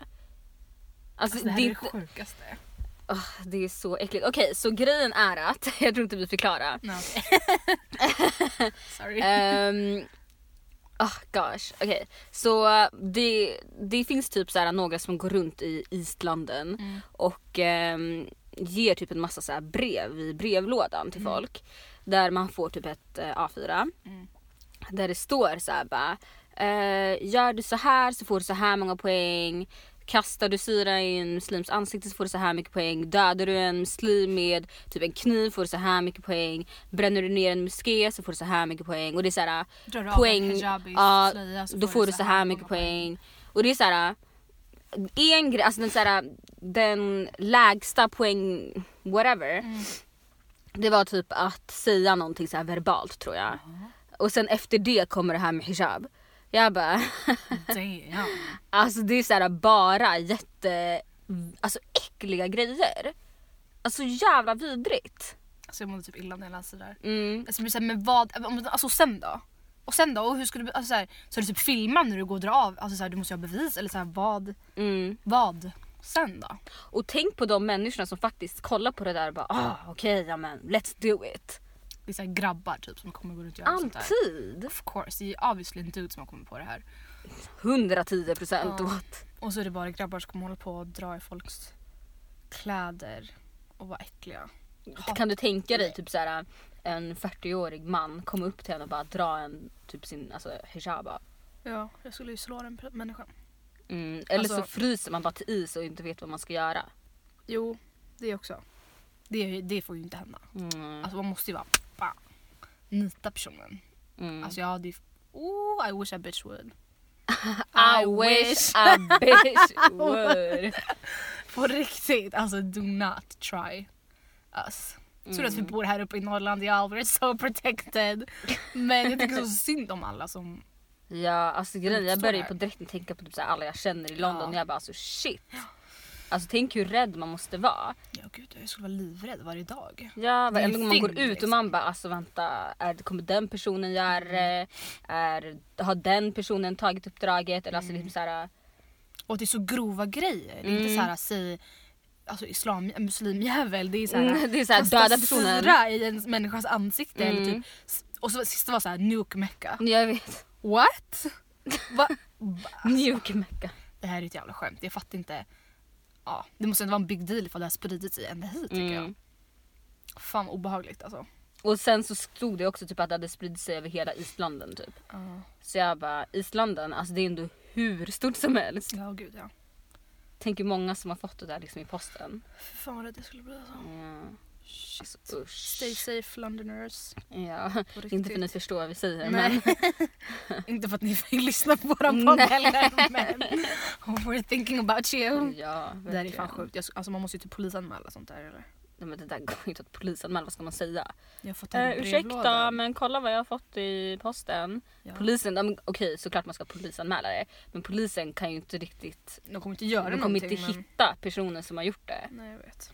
Speaker 1: Alltså,
Speaker 2: Alltså, det här
Speaker 1: det,
Speaker 2: är
Speaker 1: är
Speaker 2: det
Speaker 1: inte-
Speaker 2: sjukaste.
Speaker 1: Åh, Ah, det är så äckligt. Okej, så grejen är att, [LAUGHS] jag tror inte vi förklarar.
Speaker 2: No, okay.
Speaker 1: [LAUGHS]
Speaker 2: Sorry.
Speaker 1: Ehm, Oh gosh, okej. Så det, det finns typ så här några som går runt i Istlanden
Speaker 2: Mm.
Speaker 1: och ehm, ger typ en massa så här brev i brevlådan till folk. Där man får typ ett eh, A4.
Speaker 2: Mm.
Speaker 1: Där det står så här bara. Eh, gör du så här så får du så här många poäng. Kastar du syra i en muslims ansikte så får du så här mycket poäng. Dödar du en muslim med typ en kniv får du så här mycket poäng. Bränner du ner en moské så får du så här mycket poäng. Och det är så här,
Speaker 2: Drar du
Speaker 1: poäng,
Speaker 2: av en hijabi,
Speaker 1: ja,
Speaker 2: slöja, så
Speaker 1: då får du så här mycket
Speaker 2: många
Speaker 1: poäng. Och det är så här. En grej, alltså den, så här, den lägsta poäng, whatever.
Speaker 2: Mm.
Speaker 1: Det var typ att säga någonting så här verbalt tror jag. Och sen efter det kommer det här med hijab. Jag bara, [LAUGHS]
Speaker 2: Damn.
Speaker 1: alltså det är så här bara jätte, alltså äckliga grejer. Alltså jävla vidrigt.
Speaker 2: Alltså jag mådde typ illa när jag läste det där.
Speaker 1: Mm.
Speaker 2: Alltså, men så här, men vad, om- alltså och sen då? Och sen då? Och hur ska du, alltså, så, här, så du typ filmar när du går och drar av? Alltså, så här, du måste ju ha bevis eller så här, vad,
Speaker 1: Mm.
Speaker 2: vad sen då?
Speaker 1: Och tänk på de människorna som faktiskt kollar på det där och bara ah, okej, ja men let's do it.
Speaker 2: Det är så här, grabbar typ som kommer gå runt och göra sånt där.
Speaker 1: Alltid!
Speaker 2: Of course, det är ju obviously en dude som har kommit på det här.
Speaker 1: 110 procent.
Speaker 2: Ja.
Speaker 1: what?
Speaker 2: Och så är det bara grabbar som kommer hålla på och dra i folks kläder och vara äckliga. Hat-
Speaker 1: Kan du tänka dig typ såhär en 40-årig man komma upp till henne och bara dra en typ sin alltså, hijab av.
Speaker 2: Ja, jag skulle ju slå den pr- människan.
Speaker 1: mm. Eller så
Speaker 2: Alltså-
Speaker 1: fryser man bara till is och inte vet vad man ska göra.
Speaker 2: Jo, det också. Det, det får ju inte hända.
Speaker 1: Mm.
Speaker 2: Alltså man måste ju vara bam, nita personen.
Speaker 1: Mm.
Speaker 2: Alltså jag hade ju... Oh, I wish a bitch would.
Speaker 1: [LAUGHS] I [LAUGHS] wish a bitch would.
Speaker 2: På riktigt, alltså do not try us. Tur att vi
Speaker 1: Mm.
Speaker 2: bor här uppe i Norrland, yeah, we're so protected. Men
Speaker 1: [LAUGHS]
Speaker 2: jag tycker så synd om alla som...
Speaker 1: Ja, alltså grejen jag
Speaker 2: förstår
Speaker 1: började ju
Speaker 2: det.
Speaker 1: på direkten tänka på typ så här, alla jag känner i London
Speaker 2: Ja.
Speaker 1: och jag bara alltså shit. Alltså tänk hur rädd man måste vara.
Speaker 2: Ja gud, jag skulle vara livrädd varje dag.
Speaker 1: Ja,
Speaker 2: Det är ju
Speaker 1: varenda gång man går
Speaker 2: synd,
Speaker 1: ut och man bara alltså vänta, är, kommer den personen göra det? Är, har den personen tagit uppdraget? Eller alltså liksom så här,
Speaker 2: Och det är så grova grejer. Det är inte
Speaker 1: Mm.
Speaker 2: så här, säg alltså, islam, muslimjävel. Det är så här,
Speaker 1: Mm, [LAUGHS] det är så här,
Speaker 2: kasta
Speaker 1: döda personen.
Speaker 2: syra i en människas ansikte. Eller
Speaker 1: Mm.
Speaker 2: typ, s- och så sista var så här, nuke mecka.
Speaker 1: jag vet.
Speaker 2: What? Va? Va?
Speaker 1: Mjuk mecka.
Speaker 2: Det här är ett jävla skämt. Jag fattar inte. Ja, det måste ändå vara en big deal ifall det har spridits i ända hit tycker
Speaker 1: Mm.
Speaker 2: jag. Fan vad obehagligt alltså.
Speaker 1: Och sen så stod det också typ att det hade spridit sig över hela Islanden typ.
Speaker 2: Ja.
Speaker 1: Så jag bara Islanden, alltså det är ändå hur stort som helst.
Speaker 2: Ja gud ja.
Speaker 1: Tänk hur många som har fått det där liksom i posten.
Speaker 2: Fy fan vad rädd jag skulle bli alltså.
Speaker 1: Ja.
Speaker 2: Shit.
Speaker 1: Alltså usch.
Speaker 2: Stay safe Londoners.
Speaker 1: Ja,
Speaker 2: På
Speaker 1: inte för
Speaker 2: riktigt.
Speaker 1: ni förstår vad vi säger
Speaker 2: Nej.
Speaker 1: men
Speaker 2: [LAUGHS] inte för att ni vill lyssna på våran podd
Speaker 1: Nej.
Speaker 2: heller men we're thinking about you.
Speaker 1: ja,
Speaker 2: Det där är fan
Speaker 1: verkligen.
Speaker 2: sjukt. Jag, sk- alltså man måste ju typ polisanmäla sånt där eller?
Speaker 1: Nej, men det där går ju inte att polisanmäla, vad ska man säga?
Speaker 2: Jag har fått
Speaker 1: Eh,
Speaker 2: en
Speaker 1: ursäkta men kolla vad jag har fått i posten.
Speaker 2: Ja.
Speaker 1: Polisen, ja, men okej såklart man ska polisanmäla det men polisen kan ju inte riktigt,
Speaker 2: De kommer inte göra
Speaker 1: de kommer
Speaker 2: någonting.
Speaker 1: inte hitta personen som har gjort det.
Speaker 2: Men... Nej jag vet.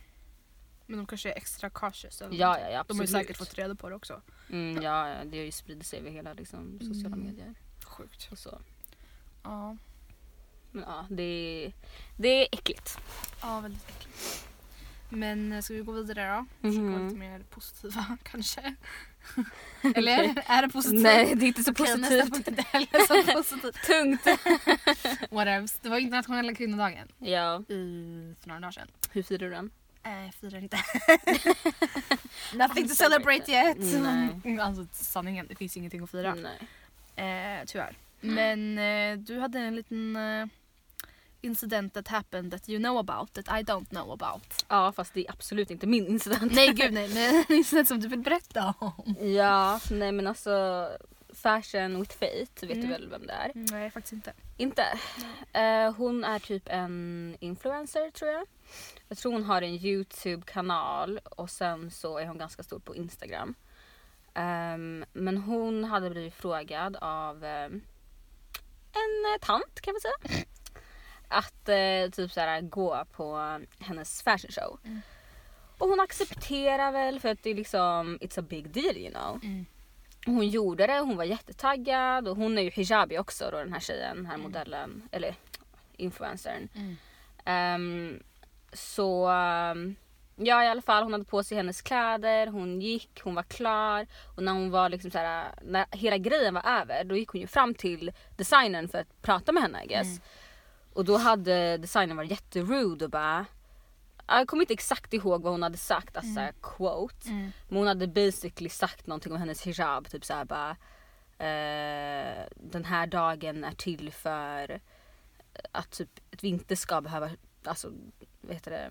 Speaker 2: Men de kanske är extra cautious eller
Speaker 1: Ja,
Speaker 2: någonting.
Speaker 1: ja, ja
Speaker 2: De har ju
Speaker 1: absolut.
Speaker 2: säkert fått reda på det också.
Speaker 1: mm, ja, ja, det har ju spridit sig över hela liksom, sociala
Speaker 2: Mm.
Speaker 1: medier
Speaker 2: Sjukt.
Speaker 1: och så.
Speaker 2: Ja.
Speaker 1: Men ja, det är, det är äckligt.
Speaker 2: Ja, väldigt äckligt. Men eh, ska vi gå vidare då? Försöka vara
Speaker 1: Mhm.
Speaker 2: lite mer positiva [LAUGHS]
Speaker 1: [LAUGHS]
Speaker 2: kanske. Eller är det positivt?
Speaker 1: Nej det är inte så
Speaker 2: Okej,
Speaker 1: positivt.
Speaker 2: nästa [LAUGHS] punkt är inte heller
Speaker 1: [LAUGHS]
Speaker 2: så positivt.
Speaker 1: Tungt.
Speaker 2: [LAUGHS] Whatevs. Det var internationella kvinnodagen
Speaker 1: Ja,
Speaker 2: i, för några dagar sedan.
Speaker 1: hur firar du den?
Speaker 2: Eh, jag firar inte. Nothing to celebrate yet.
Speaker 1: Nej.
Speaker 2: Mm, Alltså sanningen, det finns ingenting att fira.
Speaker 1: Mm, Nej.
Speaker 2: Eh, tyvärr. Men eh, du hade en liten eh, incident that happened that you know about that I don't know
Speaker 1: [LAUGHS]
Speaker 2: about.
Speaker 1: Ja fast det är absolut inte min incident.
Speaker 2: Nej gud nej, men det är sånt som du vill berätta om.
Speaker 1: [LAUGHS] Ja, nej men alltså Fashion with Fate vet
Speaker 2: Mm.
Speaker 1: du väl vem det är?
Speaker 2: Nej faktiskt inte.
Speaker 1: Inte? Eh, hon är typ en influencer tror jag. Jag tror hon har en YouTube-kanal och sen så är hon ganska stor på Instagram. Ehm, men hon hade blivit frågad av ehm, en eh, tant kan man säga. Att eh, typ så här, gå på hennes fashion show. Och hon accepterar väl för att det är liksom, it's a big deal you know.
Speaker 2: Mm.
Speaker 1: Och Hon gjorde det, hon var jättetaggad och hon är ju hijabi också då den här tjejen, den här modellen, eller influencern.
Speaker 2: Mm.
Speaker 1: Ehm, så ehm, ja i alla fall hon hade på sig hennes kläder, hon gick, hon var klar och när hon var liksom så här, när hela grejen var över då gick hon ju fram till designern för att prata med henne I guess. Och då hade designern varit jätterude och bara jag kommer inte exakt ihåg vad hon hade sagt, alltså såhär quote.
Speaker 2: Mm.
Speaker 1: Men hon hade basically sagt någonting om hennes hijab, typ såhär bara eh, Den här dagen är till för att, typ, att vi inte ska behöva, alltså vad heter det,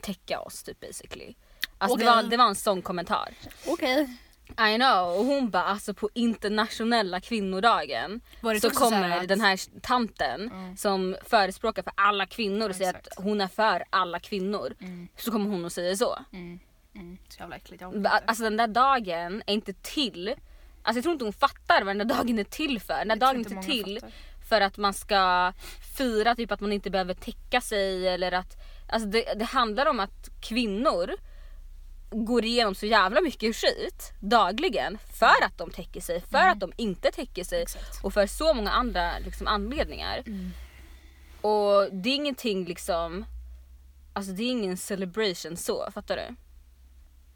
Speaker 1: täcka oss typ basically. Alltså det,
Speaker 2: Okej.
Speaker 1: var, det var en sån kommentar.
Speaker 2: Okej.
Speaker 1: I know, och hon bara alltså på internationella kvinnodagen
Speaker 2: Var det
Speaker 1: så
Speaker 2: också så här
Speaker 1: kommer
Speaker 2: att-
Speaker 1: den här tanten
Speaker 2: Mm.
Speaker 1: som förespråkar för alla kvinnor och
Speaker 2: Ja,
Speaker 1: säger att
Speaker 2: exakt.
Speaker 1: hon är för alla kvinnor.
Speaker 2: Mm.
Speaker 1: Så kommer hon och säger så.
Speaker 2: Mm. Mm. Så jävla äckligt. Jag orkar
Speaker 1: Ba-
Speaker 2: inte.
Speaker 1: Alltså den där dagen är inte till. Alltså jag tror inte hon fattar vad den där dagen är till för. Den där
Speaker 2: Jag tror
Speaker 1: dagen är inte
Speaker 2: många
Speaker 1: till
Speaker 2: fattar.
Speaker 1: för att man ska fira typ att man inte behöver täcka sig eller att... Alltså det, det handlar om att kvinnor går igenom så jävla mycket skit dagligen för att de täcker sig, för att de inte täcker sig
Speaker 2: Mm. Exakt.
Speaker 1: och för så många andra liksom, anledningar.
Speaker 2: Mm.
Speaker 1: Och det är ingenting liksom... Alltså det är ingen celebration så, fattar du?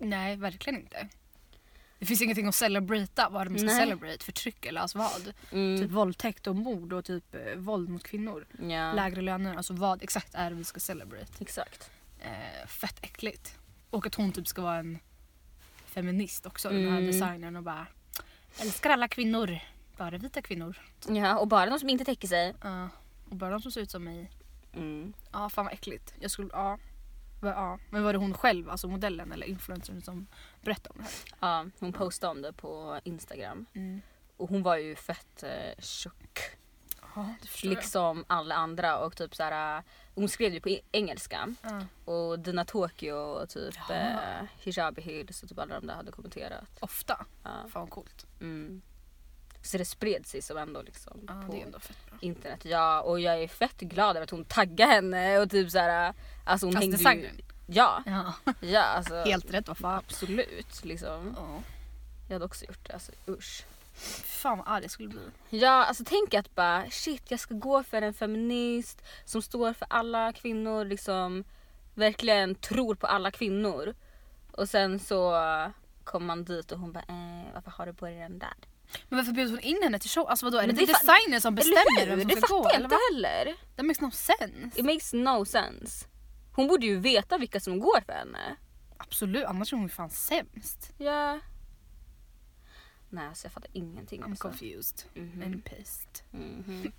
Speaker 2: Nej, verkligen inte. Det finns ingenting att celebrata, vad de ska
Speaker 1: Nej.
Speaker 2: celebrate, förtryck eller alltså vad.
Speaker 1: Mm,
Speaker 2: Typ våldtäkt och mord och typ eh, våld mot kvinnor.
Speaker 1: Ja.
Speaker 2: Lägre löner, alltså vad exakt är det vi ska celebrate?
Speaker 1: Exakt.
Speaker 2: Eh, fett äckligt. Och att hon typ ska vara en feminist också, den här
Speaker 1: Mm.
Speaker 2: designern och bara älskar alla kvinnor, bara vita kvinnor.
Speaker 1: Ja, och bara de som inte täcker sig.
Speaker 2: Ja, och bara de som ser ut som mig. Ja, fan vad äckligt. Jag skulle, ja. Va- ja. Men var det hon själv, alltså modellen eller influencern som berättade om det här?
Speaker 1: Ja, hon postade om det på Instagram.
Speaker 2: Mm.
Speaker 1: Och hon var ju fett eh, tjock.
Speaker 2: Ja, det förstår
Speaker 1: liksom alla andra och typ så här, äh, hon skrev ju på e- engelska
Speaker 2: jag. Ja.
Speaker 1: och Dina Tokyo och typ
Speaker 2: Ja.
Speaker 1: eh, Hijabi Hills och typ alla de där hade kommenterat.
Speaker 2: Ofta.
Speaker 1: Ja.
Speaker 2: Fan vad coolt.
Speaker 1: Mm. Så det spred sig som ändå liksom
Speaker 2: Ja,
Speaker 1: på
Speaker 2: det är ändå fett bra.
Speaker 1: internet. Ja och jag är fett glad över att hon taggade henne och typ såhär, alltså hon
Speaker 2: Alltså
Speaker 1: hängde
Speaker 2: designern.
Speaker 1: ju... Ja,
Speaker 2: Ja.
Speaker 1: ja alltså.
Speaker 2: [LAUGHS] Helt rätt vad fan.
Speaker 1: Absolut liksom.
Speaker 2: Ja.
Speaker 1: Jag hade också gjort det alltså usch.
Speaker 2: Fan vad arg jag skulle bli.
Speaker 1: Ja, alltså tänk att bara shit jag ska gå för en feminist som står för alla kvinnor liksom verkligen tror på alla kvinnor. Och sen så kommer man dit och hon bara eh, varför har du på dig den där?
Speaker 2: Men varför bjöd hon in henne till show? Alltså vadå, är det,
Speaker 1: Men
Speaker 2: det
Speaker 1: det fa-
Speaker 2: designern som bestämmer
Speaker 1: Eller hur?
Speaker 2: vem
Speaker 1: Det
Speaker 2: som ska
Speaker 1: fattar
Speaker 2: gå?
Speaker 1: jag
Speaker 2: Eller
Speaker 1: inte
Speaker 2: vad?
Speaker 1: heller.
Speaker 2: That makes no sense.
Speaker 1: It makes no sense. Hon borde ju veta vilka som går för henne.
Speaker 2: Absolut, annars är hon ju fan sämst.
Speaker 1: Ja. Nej alltså jag fattar ingenting.
Speaker 2: I'm
Speaker 1: Alltså.
Speaker 2: confused
Speaker 1: Mhm.
Speaker 2: and pissed.
Speaker 1: Mhm.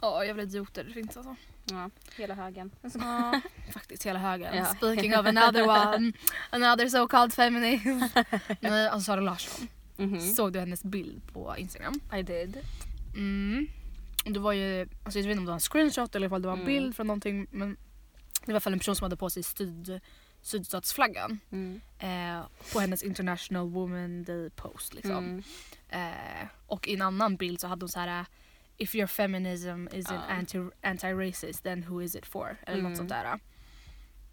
Speaker 2: Ja, jävla idioter det finns alltså.
Speaker 1: Ja, hela högen.
Speaker 2: Ja, [LAUGHS] faktiskt hela högen.
Speaker 1: Ja.
Speaker 2: Speaking of another one, another so called [LAUGHS] feminist. Nej, alltså Sara Larsson.
Speaker 1: Mhm.
Speaker 2: Såg du hennes bild på Instagram?
Speaker 1: I did.
Speaker 2: Mm. Det var ju, alltså jag vet inte om det var en screenshot eller om det var en
Speaker 1: Mm.
Speaker 2: bild från någonting. Men det var i alla fall en person som hade på sig syd, sydstatsflaggan.
Speaker 1: Mm.
Speaker 2: Eh, på hennes International Woman Day post liksom.
Speaker 1: Mm.
Speaker 2: Eh, och i en annan bild så hade hon så här eh, If your feminism isn't
Speaker 1: Ja.
Speaker 2: anti, anti-racist then who is it for? Eller
Speaker 1: Mm.
Speaker 2: något sånt där.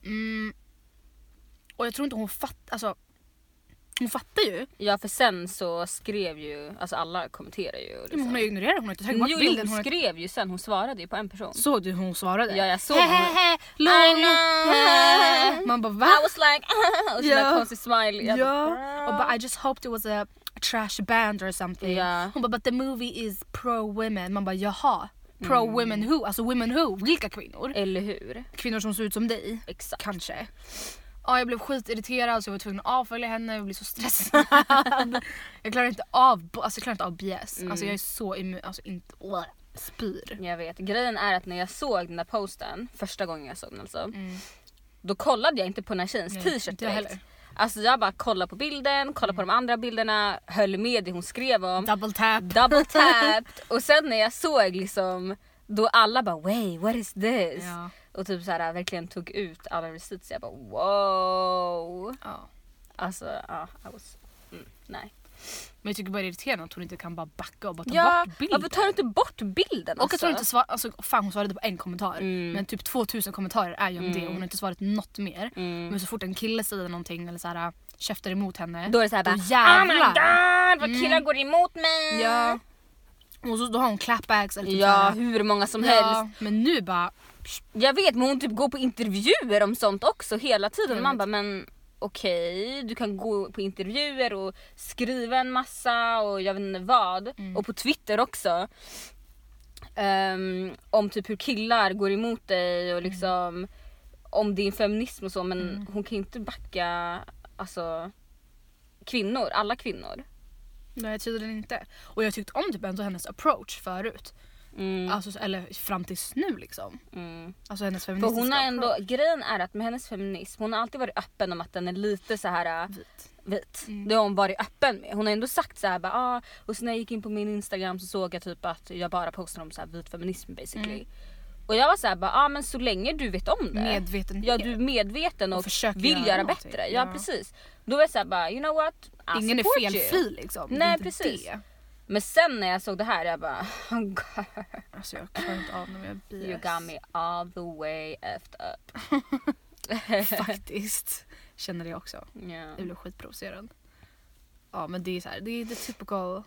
Speaker 2: Mm. Och jag tror inte hon fattar, alltså hon fattar ju.
Speaker 1: Ja för sen så skrev ju, alltså alla kommenterar ju. liksom.
Speaker 2: Men hon har ju ignorerat, hon har inte tagit
Speaker 1: jo,
Speaker 2: bort
Speaker 1: jo,
Speaker 2: bilden.
Speaker 1: hon
Speaker 2: Hon har...
Speaker 1: skrev ju sen, hon svarade ju på en person.
Speaker 2: Såg du hur hon svarade?
Speaker 1: Ja jag såg hon.
Speaker 2: Hehehe, lol.
Speaker 1: I know.
Speaker 2: [LAUGHS] Man bara va?
Speaker 1: I was like [LAUGHS] och så
Speaker 2: Ja.
Speaker 1: där konstig smiley. Jag
Speaker 2: Ja.
Speaker 1: bara,
Speaker 2: Och bara I just hoped it was a trash band or something.
Speaker 1: Ja.
Speaker 2: Hon bara but the movie is pro women. Man bara jaha. Pro women who? Alltså women who? Vilka kvinnor?
Speaker 1: Eller hur?
Speaker 2: Kvinnor som ser ut som dig.
Speaker 1: Exakt.
Speaker 2: Kanske. Ja, jag blev skitirriterad så jag var tvungen att avfölja henne. Jag blev så [LAUGHS] stressad. jag klarar inte av, alltså jag klarar inte av BS. Alltså jag är så immun, alltså inte, Åh, spyr.
Speaker 1: Jag vet. Grejen är att när jag såg den där posten, första gången jag såg den alltså. Då kollade jag inte på den här tjejens
Speaker 2: Mm. Nej,
Speaker 1: t-shirt
Speaker 2: inte jag
Speaker 1: direkt.
Speaker 2: heller. Mm.
Speaker 1: Alltså jag bara kollade på bilden, kollade på de andra bilderna, höll med det hon skrev om.
Speaker 2: Double tap.
Speaker 1: double tapped [LAUGHS] och sen när jag såg liksom då alla bara wait what is this?
Speaker 2: Ja.
Speaker 1: Och typ så här verkligen tog ut alla receipts jag bara wow.
Speaker 2: Ja.
Speaker 1: Alltså ja, I was mm, nej.
Speaker 2: Men jag tycker bara det är irriterande att hon inte kan bara backa och bara ta bort bilden.
Speaker 1: varför tar du inte bort bilden?
Speaker 2: Och att hon inte svarade, alltså fan hon svarade på en kommentar.
Speaker 1: Mm.
Speaker 2: Men typ 2000 kommentarer är ju om det och hon har inte svarat något mer.
Speaker 1: mm.
Speaker 2: Men så fort en kille säger någonting eller så här äh, käftar emot henne.
Speaker 1: Då är det såhär
Speaker 2: Då
Speaker 1: bara oh my
Speaker 2: jävlar.
Speaker 1: god vad killar
Speaker 2: Mm.
Speaker 1: går emot mig.
Speaker 2: Ja. Och så, då har hon clapbacks eller typ så
Speaker 1: Ja,
Speaker 2: här,
Speaker 1: hur många som helst.
Speaker 2: Ja, men nu bara...
Speaker 1: Jag vet men hon typ går på intervjuer om sånt också hela tiden.
Speaker 2: Jag
Speaker 1: Man
Speaker 2: vet.
Speaker 1: bara men okej du kan gå på intervjuer och skriva en massa och jag vet inte vad.
Speaker 2: Mm.
Speaker 1: Och på Twitter också. Ehm, om typ hur killar går emot dig och liksom om din feminism och så men
Speaker 2: Mm.
Speaker 1: hon kan ju inte backa alltså kvinnor, alla kvinnor.
Speaker 2: Nej tydligen inte. Och jag tyckte om typ ändå hennes approach förut.
Speaker 1: Mm,
Speaker 2: Alltså, eller fram tills nu liksom.
Speaker 1: mm.
Speaker 2: Alltså hennes
Speaker 1: För
Speaker 2: feministiska
Speaker 1: hon har ändå,
Speaker 2: approach.
Speaker 1: grejen är att med hennes feminism, hon har alltid varit öppen om att den är lite så här äh,
Speaker 2: Vit.
Speaker 1: vit.
Speaker 2: Mm.
Speaker 1: Det har hon varit öppen med. Hon har ändå sagt så här bara, ah, och sen när jag gick in på min instagram så såg jag typ att jag bara postade om så här vit feminism basically.
Speaker 2: Mm.
Speaker 1: Och jag var så här bara, ah, men så länge du vet om det.
Speaker 2: Medvetenhet.
Speaker 1: Ja du är medveten
Speaker 2: Och
Speaker 1: och,
Speaker 2: försöker
Speaker 1: vill
Speaker 2: göra
Speaker 1: göra
Speaker 2: någonting.
Speaker 1: bättre. Ja,
Speaker 2: Ja.
Speaker 1: precis. Då var jag så här bara, you know what? I
Speaker 2: Ingen
Speaker 1: support
Speaker 2: är
Speaker 1: you.
Speaker 2: felfri liksom. Det är
Speaker 1: Nej,
Speaker 2: inte
Speaker 1: precis.
Speaker 2: Det.
Speaker 1: Men sen när jag såg det här jag bara, [LAUGHS] oh God,
Speaker 2: Alltså jag klarar inte av när jag är bias.
Speaker 1: you got me all the way efter up. [LAUGHS]
Speaker 2: Faktiskt. Känner det också.
Speaker 1: Ja.
Speaker 2: Jag blev skitprovocerad. Ja men det är så här, det är the typical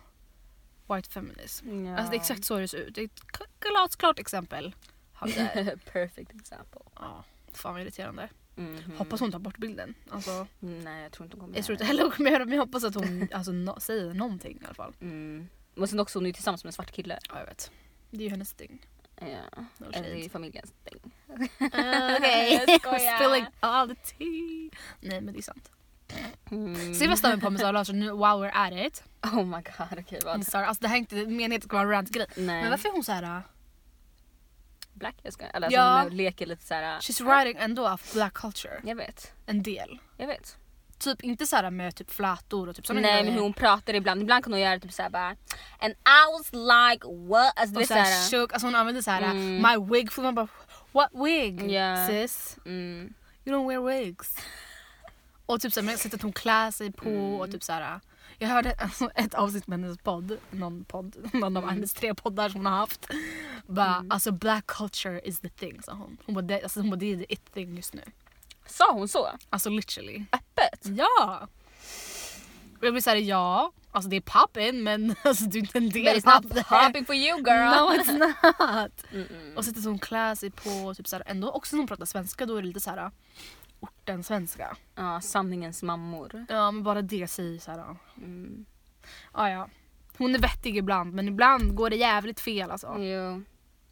Speaker 2: white feminism.
Speaker 1: Ja.
Speaker 2: Alltså det är exakt så det ser ut. Det är ett k- glasklart exempel. Har vi där.
Speaker 1: [LAUGHS] Perfect example.
Speaker 2: Ja, fan vad irriterande.
Speaker 1: Mhm.
Speaker 2: Hoppas hon tar bort bilden. Alltså,
Speaker 1: Nej jag tror inte hon kommer
Speaker 2: jag tror
Speaker 1: göra
Speaker 2: inte heller hon kommer göra det men jag hoppas att hon alltså, no- säger någonting i alla fall.
Speaker 1: det. Mm. Men sen också hon är ju tillsammans med en svart kille.
Speaker 2: Ja jag vet. Det är ju hennes ting.
Speaker 1: Ja.
Speaker 2: No
Speaker 1: Eh, Eller
Speaker 2: shade.
Speaker 1: i familjens thing. Ah,
Speaker 2: [LAUGHS] Okej.
Speaker 1: Jag skojar.
Speaker 2: Spilling all the tea. Nej men det är sant.
Speaker 1: Mm.
Speaker 2: Se vad Steven på med Sara Larsson alltså, nu, wow we're at it.
Speaker 1: [LAUGHS] Oh my god okej
Speaker 2: Hon
Speaker 1: vad.
Speaker 2: sa- Alltså det här är inte meningen att det ska vara en rant-grej.
Speaker 1: Nej.
Speaker 2: Men varför är hon så här? äh,
Speaker 1: Black jag ska, eller alltså
Speaker 2: Ja.
Speaker 1: hon leker lite såhär.
Speaker 2: She's writing ändå av black culture.
Speaker 1: Jag vet.
Speaker 2: En del.
Speaker 1: Jag vet.
Speaker 2: Typ inte så här med typ flätor och typ sådana
Speaker 1: Nej men hur hon pratar ibland, ibland kan hon göra typ såhär bara And I was like what? Alltså du
Speaker 2: Och
Speaker 1: vet
Speaker 2: så här
Speaker 1: såhär.
Speaker 2: shook, alltså hon använde så här
Speaker 1: Mm.
Speaker 2: my wig för man bara what wig
Speaker 1: Ja.
Speaker 2: sis?
Speaker 1: Mm.
Speaker 2: You don't wear wigs. [LAUGHS] och typ så här, men sättet hon klär sig på
Speaker 1: Mm.
Speaker 2: och typ så här. Jag hörde [LAUGHS] alltså, ett avsnitt med hennes podd, någon podd, [LAUGHS] någon
Speaker 1: Mm.
Speaker 2: av hennes tre poddar som hon har haft. Bara, alltså black culture is the thing sa hon. Hon bara, det, alltså, hon bara, det är the it thing just nu.
Speaker 1: Sa hon så?
Speaker 2: Alltså literally.
Speaker 1: Öppet?
Speaker 2: Ja! Och jag blir såhär, ja, alltså det är poppin men [LAUGHS] alltså du är inte en
Speaker 1: But
Speaker 2: del
Speaker 1: it's not
Speaker 2: av det.
Speaker 1: popping Mm. for you girl!
Speaker 2: No it's [LAUGHS] not!
Speaker 1: Mm-mm.
Speaker 2: Och sättet hon klär sig på, typ såhär, ändå också när hon pratar svenska då är det lite såhär orten-svenska.
Speaker 1: [LAUGHS] Ja, sanningens mammor.
Speaker 2: Ja men bara det säger såhär,
Speaker 1: Mm.
Speaker 2: ja ja. Hon är vettig ibland men ibland går det jävligt fel alltså.
Speaker 1: Jo.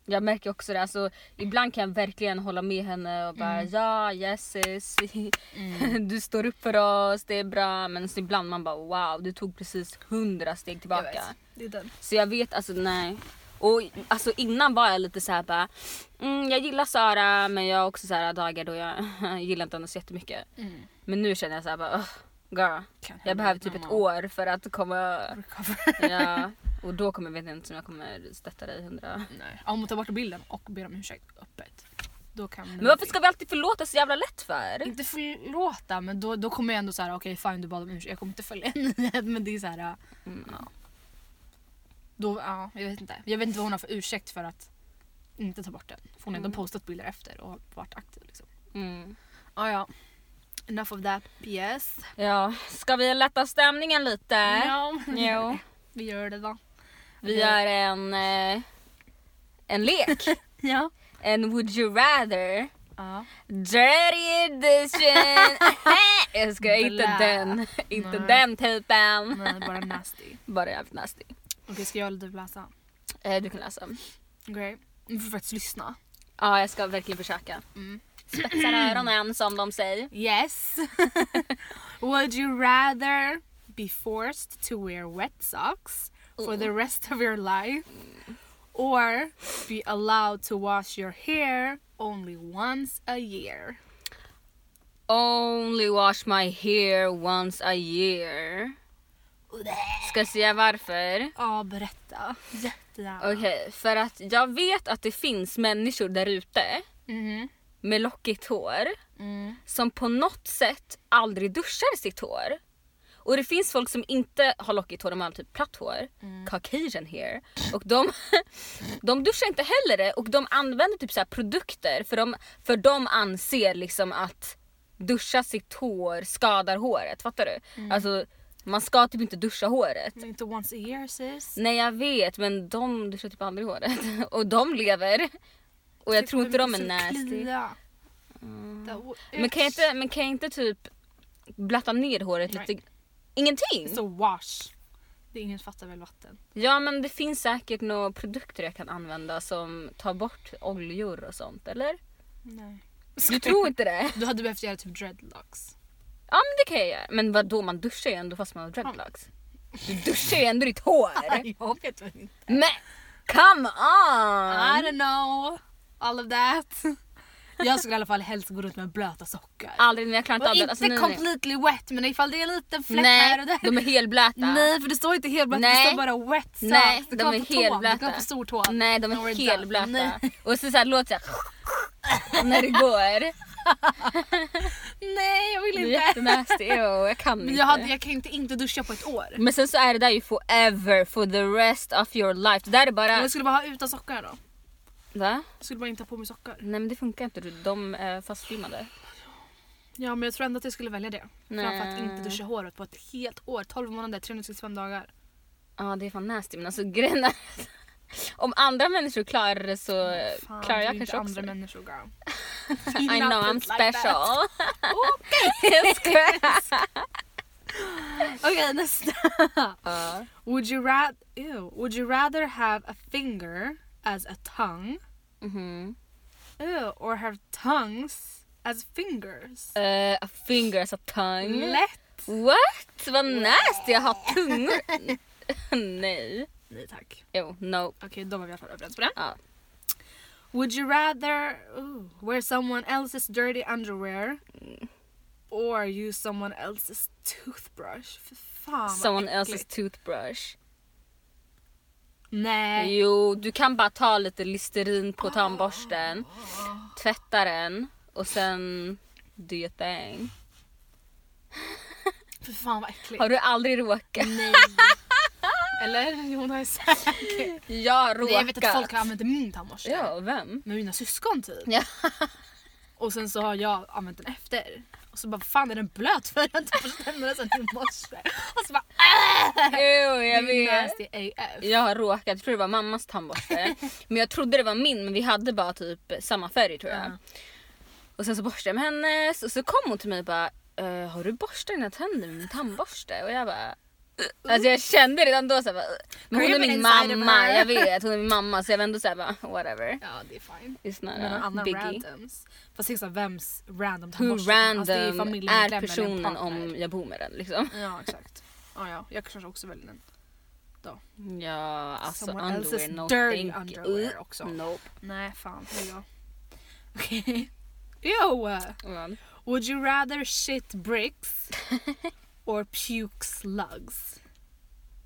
Speaker 1: Jag märker också det, alltså, ibland kan jag verkligen hålla med henne och bara ja, yes sis. [LAUGHS] Du står upp för oss, det är bra. Men så ibland man bara wow, du tog precis hundra steg tillbaka.
Speaker 2: Det är den.
Speaker 1: Så jag vet alltså nej. Och alltså innan var jag lite såhär bara, mm, jag gillar Sara men jag har också så här dagar då jag [LAUGHS] gillar inte henne så jättemycket.
Speaker 2: Mm.
Speaker 1: Men nu känner jag såhär bara, "Ugh, girl.
Speaker 2: Kan hända,
Speaker 1: Jag behöver typ ett
Speaker 2: mamma.
Speaker 1: år för att komma,
Speaker 2: [LAUGHS] Recover.
Speaker 1: ja. Och då kommer jag vet inte om jag kommer stötta dig hundra.
Speaker 2: Nej. Ja, Om hon tar bort bilden och ber om ursäkt öppet. Då kan
Speaker 1: Men varför ska vi alltid förlåta så jävla lätt för?
Speaker 2: inte förlåta men då, då kommer jag ändå såhär, okej fine du bad om ursäkt, jag kommer inte följa en nyhet men det är såhär,
Speaker 1: Mm.
Speaker 2: då, ja jag vet inte. Jag vet inte vad hon har för ursäkt för att inte ta bort den. För hon har ändå postat bilder efter och varit aktiv liksom.
Speaker 1: Mm.
Speaker 2: Ah, Ja ja. Enough of that BS.
Speaker 1: Ja, ska vi lätta stämningen lite?
Speaker 2: Ja.
Speaker 1: Jo.
Speaker 2: Vi gör det då.
Speaker 1: Vi gör en, eh, en
Speaker 2: [LAUGHS]
Speaker 1: lek.
Speaker 2: Ja.
Speaker 1: en would you rather.
Speaker 2: ja.
Speaker 1: Dirty edition! [LAUGHS] jag ska inte
Speaker 2: Blä.
Speaker 1: den, inte
Speaker 2: Nej.
Speaker 1: den typen.
Speaker 2: Nej, bara nasty.
Speaker 1: Bara jävligt nasty.
Speaker 2: Okej, ska jag eller du läsa?
Speaker 1: Eh, du kan läsa. Ja,
Speaker 2: Okej. Du får faktiskt lyssna.
Speaker 1: jag ska verkligen försöka.
Speaker 2: Mm.
Speaker 1: Spetsa
Speaker 2: [CLEARS THROAT]
Speaker 1: öronen som de säger.
Speaker 2: Yes. [LAUGHS] Would you rather be forced to wear wet socks for the rest of your life or be allowed to wash your hair only once a year?
Speaker 1: Only wash my hair once a year. Ska jag säga varför?
Speaker 2: Ja, berätta. Jättegärna.
Speaker 1: Okej, för att jag vet att det finns människor där ute
Speaker 2: Mhm.
Speaker 1: med lockigt hår
Speaker 2: Mm.
Speaker 1: som på något sätt aldrig duschar sitt hår. Och det finns folk som inte har lockigt hår, de har typ platt hår. Caucasian hair. Och de, [LAUGHS] de duschar inte heller det och de använder typ så här produkter för de, för de anser liksom att duscha sitt hår skadar håret. Fattar du? Alltså man ska typ inte duscha håret.
Speaker 2: Men inte once a year sis.
Speaker 1: Nej jag vet men de duschar typ aldrig håret. [LAUGHS] Och de lever. Och jag tror inte de är nasty. Mm. Men kan, jag inte, men kan jag inte typ blatta ner håret
Speaker 2: Nej.
Speaker 1: lite? Ingenting?
Speaker 2: Så wash. Det är ingen fattar väl vatten.
Speaker 1: Ja men det finns säkert några produkter jag kan använda som tar bort oljor och sånt eller?
Speaker 2: Nej.
Speaker 1: Du tror inte det?
Speaker 2: Du hade behövt göra typ dreadlocks.
Speaker 1: Ja men det kan jag göra. Men vadå man duschar ju ändå fast man har dreadlocks. Du duschar ju ändå ditt
Speaker 2: [LAUGHS]
Speaker 1: hår.
Speaker 2: Jag vet inte.
Speaker 1: Men come
Speaker 2: I
Speaker 1: on!
Speaker 2: don't know. All of that. [LAUGHS] Jag skulle i alla fall helst gå runt med blöta sockor.
Speaker 1: Aldrig, men jag klarar inte
Speaker 2: och
Speaker 1: av det.
Speaker 2: inte
Speaker 1: Alltså, nej, nej.
Speaker 2: completely wet men ifall det är en liten fläck här och
Speaker 1: nej,
Speaker 2: där.
Speaker 1: de är helblöta.
Speaker 2: Nej för det står inte helt blött, det
Speaker 1: Nej.
Speaker 2: står bara wet socks.
Speaker 1: Nej,
Speaker 2: du
Speaker 1: de
Speaker 2: kan
Speaker 1: är
Speaker 2: ha på tån, Du kan
Speaker 1: helblöta.
Speaker 2: ha på stortån.
Speaker 1: Nej, de
Speaker 2: No,
Speaker 1: är
Speaker 2: we're
Speaker 1: helblöta.
Speaker 2: done.
Speaker 1: Och så, så här, låter det såhär [LAUGHS] när det
Speaker 2: [LAUGHS]
Speaker 1: går.
Speaker 2: Nej jag vill
Speaker 1: Det är
Speaker 2: inte.
Speaker 1: jättenasty, jo, jag kan
Speaker 2: Men
Speaker 1: inte.
Speaker 2: jag, hade, jag kan inte inte duscha på ett år.
Speaker 1: Men sen så är det där ju forever, for the rest of your life. Det där är
Speaker 2: Men
Speaker 1: bara...
Speaker 2: jag skulle bara ha utan sockor då.
Speaker 1: Va?
Speaker 2: Jag skulle bara inte ha på mig sockor.
Speaker 1: Nej men det funkar inte, du. de är fastlimmade.
Speaker 2: Ja men jag tror ändå att jag skulle välja det. Framför att
Speaker 1: Nej.
Speaker 2: inte duscha håret på ett helt år. 12 månader, 365 dagar.
Speaker 1: Ja det är fan nasty men alltså grejen är- [LAUGHS] Om andra människor klarar det så eh,
Speaker 2: Fan,
Speaker 1: klarar
Speaker 2: du är
Speaker 1: jag
Speaker 2: inte
Speaker 1: kanske också
Speaker 2: andra
Speaker 1: det.
Speaker 2: människor girl.
Speaker 1: [LAUGHS] I know I'm special. [LAUGHS]
Speaker 2: Okej! [LAUGHS] Okej nästa.
Speaker 1: Ja.
Speaker 2: Would you, ra- ew. Would you rather have a finger as a tongue
Speaker 1: Mhm.
Speaker 2: ew, or have tongues as fingers?
Speaker 1: Eh, a finger as a tongue.
Speaker 2: Lätt!
Speaker 1: What? Vad nasty jag har tungor. [LAUGHS] Nej.
Speaker 2: Nej tack.
Speaker 1: Jo, no.
Speaker 2: Okej då var vi i alla fall överens på det.
Speaker 1: Ja.
Speaker 2: Would you rather ooh, wear someone else's dirty underwear Or use someone else's toothbrush. För fan
Speaker 1: Someone
Speaker 2: vad
Speaker 1: else's
Speaker 2: äckligt.
Speaker 1: toothbrush.
Speaker 2: Nej.
Speaker 1: Jo, du kan bara ta lite Listerin på tandborsten, tvätta den och sen do your thing.
Speaker 2: För fan vad äckligt.
Speaker 1: Har du aldrig råkat?
Speaker 2: Nej. Eller? Jo, nej, säkert.
Speaker 1: [LAUGHS] Jag
Speaker 2: Nej,
Speaker 1: råkat.
Speaker 2: jag vet att folk har använt min tandborste.
Speaker 1: Ja,
Speaker 2: [LAUGHS]
Speaker 1: vem?
Speaker 2: Med mina syskon typ.
Speaker 1: Ja.
Speaker 2: Och sen så har jag använt den efter. Och så bara, vad fan är den blöt för? Jag har inte borstat tänderna sen i morse. Och så bara,
Speaker 1: Jo, jag
Speaker 2: det är
Speaker 1: vet.
Speaker 2: nasty AF.
Speaker 1: Jag har råkat, jag tror det var mammas
Speaker 2: [LAUGHS]
Speaker 1: tandborste. men jag trodde det var min men vi hade bara typ samma färg tror jag.
Speaker 2: Ja.
Speaker 1: Och sen så borstade jag med hennes och så kom hon till mig och bara "Eh, har du borstat dina tänder med min tandborste? Och jag bara "Ugh." Alltså jag kände redan då såhär, men hon är
Speaker 2: Creep
Speaker 1: min
Speaker 2: inside of
Speaker 1: mamma,
Speaker 2: her.
Speaker 1: jag vet hon är min mamma så jag var ändå såhär bara whatever.
Speaker 2: Ja, det är fine.
Speaker 1: It's not
Speaker 2: Men
Speaker 1: a
Speaker 2: någon annan
Speaker 1: biggie.
Speaker 2: randoms. Fast liksom vems random
Speaker 1: Hur
Speaker 2: tandborste? Alltså, det
Speaker 1: random
Speaker 2: familjemedlemmar
Speaker 1: är
Speaker 2: eller
Speaker 1: personen
Speaker 2: partner.
Speaker 1: om jag bor med den liksom?
Speaker 2: Ja, exakt. Ja, ja. Jag kanske också väljer den.
Speaker 1: Ja alltså
Speaker 2: Someone
Speaker 1: underwear,
Speaker 2: else's
Speaker 1: no
Speaker 2: dirty
Speaker 1: thank you. Mm.
Speaker 2: underwear också.
Speaker 1: Nope.
Speaker 2: Nej, fan. det är jag. Okej. [LAUGHS] Ew!
Speaker 1: Well,
Speaker 2: Would you rather
Speaker 1: [LAUGHS]
Speaker 2: shit bricks or puke slugs?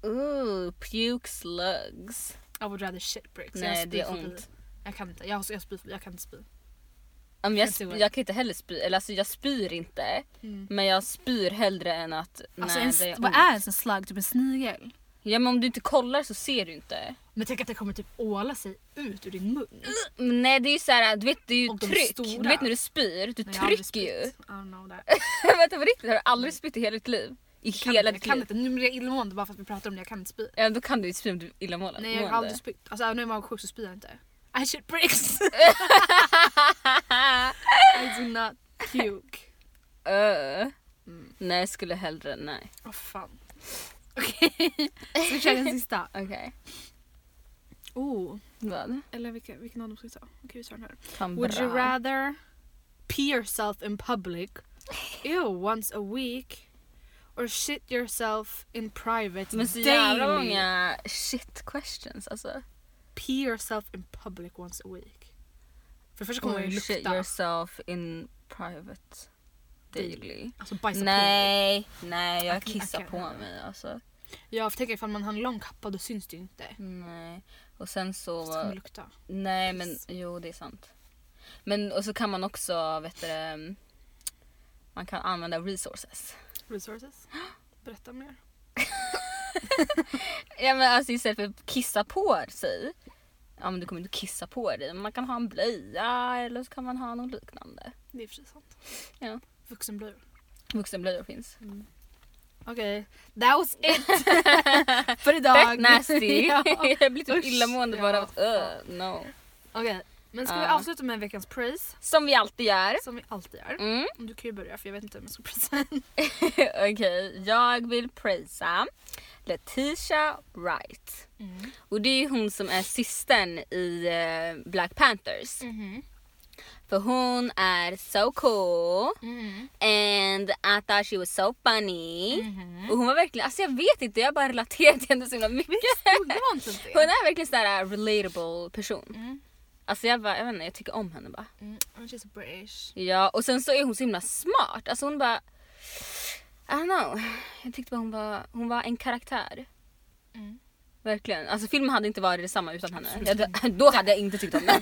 Speaker 1: Ooh, puke slugs.
Speaker 2: I would rather shit bricks. Jag har
Speaker 1: Nej det är
Speaker 2: spyfobi.
Speaker 1: ont.
Speaker 2: Jag kan inte, jag, har- jag, spyr, jag kan inte spy.
Speaker 1: Ja, men Jag,
Speaker 2: Jag tror
Speaker 1: sp-
Speaker 2: det. Mm.
Speaker 1: jag kan inte heller spy, eller alltså jag spyr inte. Men jag spyr hellre än att
Speaker 2: Alltså,
Speaker 1: nej
Speaker 2: en,
Speaker 1: det är
Speaker 2: vad
Speaker 1: ont.
Speaker 2: är ens en slug? Typ en snigel?
Speaker 1: Ja men om du inte kollar så ser du inte.
Speaker 2: Men tänk att det kommer typ åla sig ut ur din
Speaker 1: Mm,
Speaker 2: mun.
Speaker 1: Men nej det är ju såhär, du vet det är ju
Speaker 2: Och de
Speaker 1: tryck.
Speaker 2: stora.
Speaker 1: Du vet när du spyr, du
Speaker 2: Nej, jag har aldrig
Speaker 1: trycker ju. [LAUGHS]
Speaker 2: spytt. I don't know that.
Speaker 1: Vänta på riktigt, har du aldrig spytt i hela ditt liv? I
Speaker 2: Kan,
Speaker 1: [LAUGHS] hela
Speaker 2: jag
Speaker 1: ditt
Speaker 2: kan
Speaker 1: liv?
Speaker 2: inte, nu blir jag illamående bara för att vi pratar om det. Jag kan inte spy.
Speaker 1: Ja, då kan du ju spy om du är illamående.
Speaker 2: Nej jag har aldrig spytt. Alltså även om jag var sjuk så spyr jag inte. I
Speaker 1: [LAUGHS]
Speaker 2: shit bricks! [LAUGHS] I do not
Speaker 1: [LAUGHS]
Speaker 2: puke.
Speaker 1: Öh.
Speaker 2: Mm.
Speaker 1: Nej jag skulle hellre, nej.
Speaker 2: Åh fan. Okej, ska vi köra den sista?
Speaker 1: Okej,
Speaker 2: Oh.
Speaker 1: vad?
Speaker 2: Eller vilken, vilken av dem ska vi ta? Okej vi tar den här.
Speaker 1: Fan
Speaker 2: Would you
Speaker 1: bra.
Speaker 2: rather pee yourself in public ew, once a week or shit yourself in private
Speaker 1: Men så jävla
Speaker 2: daily?
Speaker 1: många shit questions alltså.
Speaker 2: Pee yourself in public once a week. För det första kommer man
Speaker 1: Or
Speaker 2: ju
Speaker 1: shit
Speaker 2: lukta.
Speaker 1: yourself in private daily.
Speaker 2: Alltså bajsa på.
Speaker 1: Nej, nej jag
Speaker 2: Okej,
Speaker 1: kissar
Speaker 2: okej.
Speaker 1: på mig alltså.
Speaker 2: Ja för tänk ifall man har en lång kappa då syns det ju inte.
Speaker 1: Nej. Och sen så,
Speaker 2: Så det kommer lukta.
Speaker 1: nej men
Speaker 2: piss.
Speaker 1: jo det är sant. Men och så kan man också, vet du det, man kan använda resources.
Speaker 2: Resources? Berätta mer.
Speaker 1: Ja men alltså istället för att kissa på sig. Ja men du kommer inte kissa på dig men man kan ha en blöja eller så kan man ha något liknande.
Speaker 2: Det är i och för sig sant.
Speaker 1: Ja.
Speaker 2: Vuxenblöjor.
Speaker 1: Vuxenblöjor finns. [LAUGHS]
Speaker 2: Okej, that was it! för idag.
Speaker 1: Fett nasty!
Speaker 2: [LAUGHS] ja.
Speaker 1: [LAUGHS] jag blir typ
Speaker 2: Usch,
Speaker 1: illamående
Speaker 2: ja,
Speaker 1: bara av att
Speaker 2: fan.
Speaker 1: öh, no.
Speaker 2: Okej, men ska vi
Speaker 1: Ja.
Speaker 2: avsluta med veckans praise?
Speaker 1: Som vi alltid gör.
Speaker 2: Som vi alltid gör.
Speaker 1: Mm. [LAUGHS]
Speaker 2: Du kan ju börja för jag vet inte vem jag ska prisa.
Speaker 1: Okej, jag vill prisa Letitia Wright.
Speaker 2: Mm.
Speaker 1: Och det är ju hon som är systern i eh, Black Panthers.
Speaker 2: mm
Speaker 1: För hon är so cool mhm, and I thought she was so funny.
Speaker 2: Mm-hmm.
Speaker 1: Och hon var verkligen, alltså jag vet inte, jag bara relaterar till henne så himla mycket.
Speaker 2: Det var inte det.
Speaker 1: [LAUGHS] Hon är verkligen sån här relatable person.
Speaker 2: Mm.
Speaker 1: Alltså jag bara, jag vet inte, jag tycker om henne bara.
Speaker 2: Mm. She's British.
Speaker 1: Ja, och sen så är hon så himla smart. Alltså hon bara... I don't know. Jag tyckte bara hon var, hon var en karaktär.
Speaker 2: Mm.
Speaker 1: Verkligen. Alltså filmen hade inte varit detsamma utan henne. Jag, då hade jag inte tyckt om [LAUGHS] den.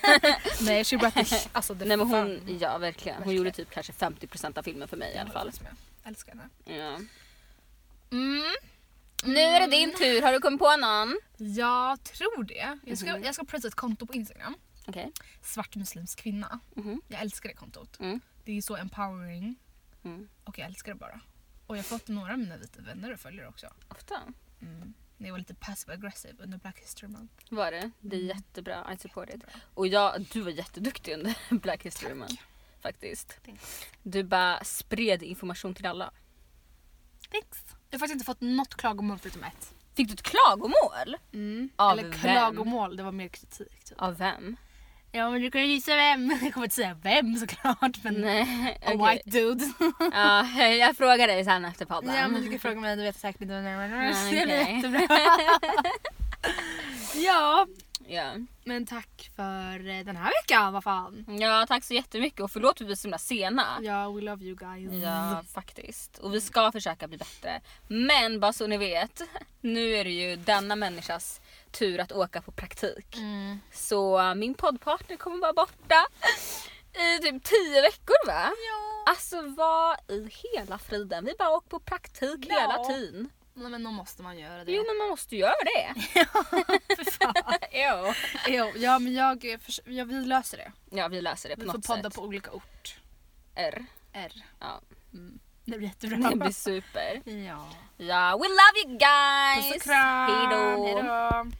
Speaker 2: Nej, she brought [LAUGHS] the alltså, det
Speaker 1: Nej men hon, ja verkligen. Hon
Speaker 2: Verkligen.
Speaker 1: gjorde typ kanske 50% av filmen för mig i alla fall.
Speaker 2: Älskar henne.
Speaker 1: Ja. Mm. Nu är det din tur, har du kommit på någon?
Speaker 2: Jag tror det. Jag ska,
Speaker 1: Mhm.
Speaker 2: jag ska prisa ett konto på Instagram.
Speaker 1: Okej.
Speaker 2: Svart muslimsk kvinna.
Speaker 1: Mhm.
Speaker 2: Jag älskar det kontot.
Speaker 1: Mm.
Speaker 2: Det är så empowering
Speaker 1: Mm.
Speaker 2: och jag älskar det bara. Och jag har fått några av mina vita vänner och följare också.
Speaker 1: Ofta.
Speaker 2: Mm. När jag var lite passive aggressive under Black History Month.
Speaker 1: Var det? Det är Mm. jättebra. I support it.
Speaker 2: Jättebra.
Speaker 1: Och jag, du var jätteduktig under [LAUGHS] Black History Month. Faktiskt.
Speaker 2: Thanks.
Speaker 1: Du bara spred information till alla.
Speaker 2: Thanks. Jag har faktiskt inte fått något klagomål förutom ett.
Speaker 1: Fick du ett klagomål? Av
Speaker 2: Mm. Eller
Speaker 1: vem?
Speaker 2: klagomål, det var mer kritik. Typ.
Speaker 1: Av vem?
Speaker 2: Ja men du kan ju gissa vem. [LAUGHS] Jag kommer inte säga vem såklart men
Speaker 1: Nej,
Speaker 2: a
Speaker 1: okej.
Speaker 2: white dude.
Speaker 1: Ja, jag frågar dig sen efter podden.
Speaker 2: [LAUGHS] ja men du kan fråga mig, [LAUGHS] du vet säkert inte vem det är.
Speaker 1: Ja,
Speaker 2: Så Det blir
Speaker 1: okej.
Speaker 2: jättebra. ja,
Speaker 1: Ja.
Speaker 2: Men tack för eh, den här veckan, vad fan.
Speaker 1: ja, tack så jättemycket och förlåt för att vi är så himla sena.
Speaker 2: Ja, we love you guys.
Speaker 1: Ja, faktiskt. Och vi ska försöka bli bättre. Men bara så ni vet, nu är det ju denna människas tur att åka på praktik.
Speaker 2: Mm.
Speaker 1: Så äh, min poddpartner kommer vara borta i typ tio veckor va?
Speaker 2: Ja.
Speaker 1: Alltså vad i hela friden? Vi bara åker på praktik
Speaker 2: Ja.
Speaker 1: hela tiden.
Speaker 2: Nej, men då måste man göra det.
Speaker 1: Jo men man måste ju göra
Speaker 2: [LAUGHS]
Speaker 1: det. [LAUGHS] Jo.
Speaker 2: Jo, ja, men jag, eh, förs- ja, vi löser det.
Speaker 1: Ja vi löser det på
Speaker 2: Vi får
Speaker 1: något
Speaker 2: podda
Speaker 1: sätt.
Speaker 2: på olika ort. [LAUGHS]
Speaker 1: R.
Speaker 2: R. Mm.
Speaker 1: Ja.
Speaker 2: Det blir jättebra.
Speaker 1: Det
Speaker 2: [LAUGHS]
Speaker 1: blir super.
Speaker 2: Ja.
Speaker 1: Ja, we love you guys!
Speaker 2: Puss och kram.
Speaker 1: Hejdå.
Speaker 2: Hejdå.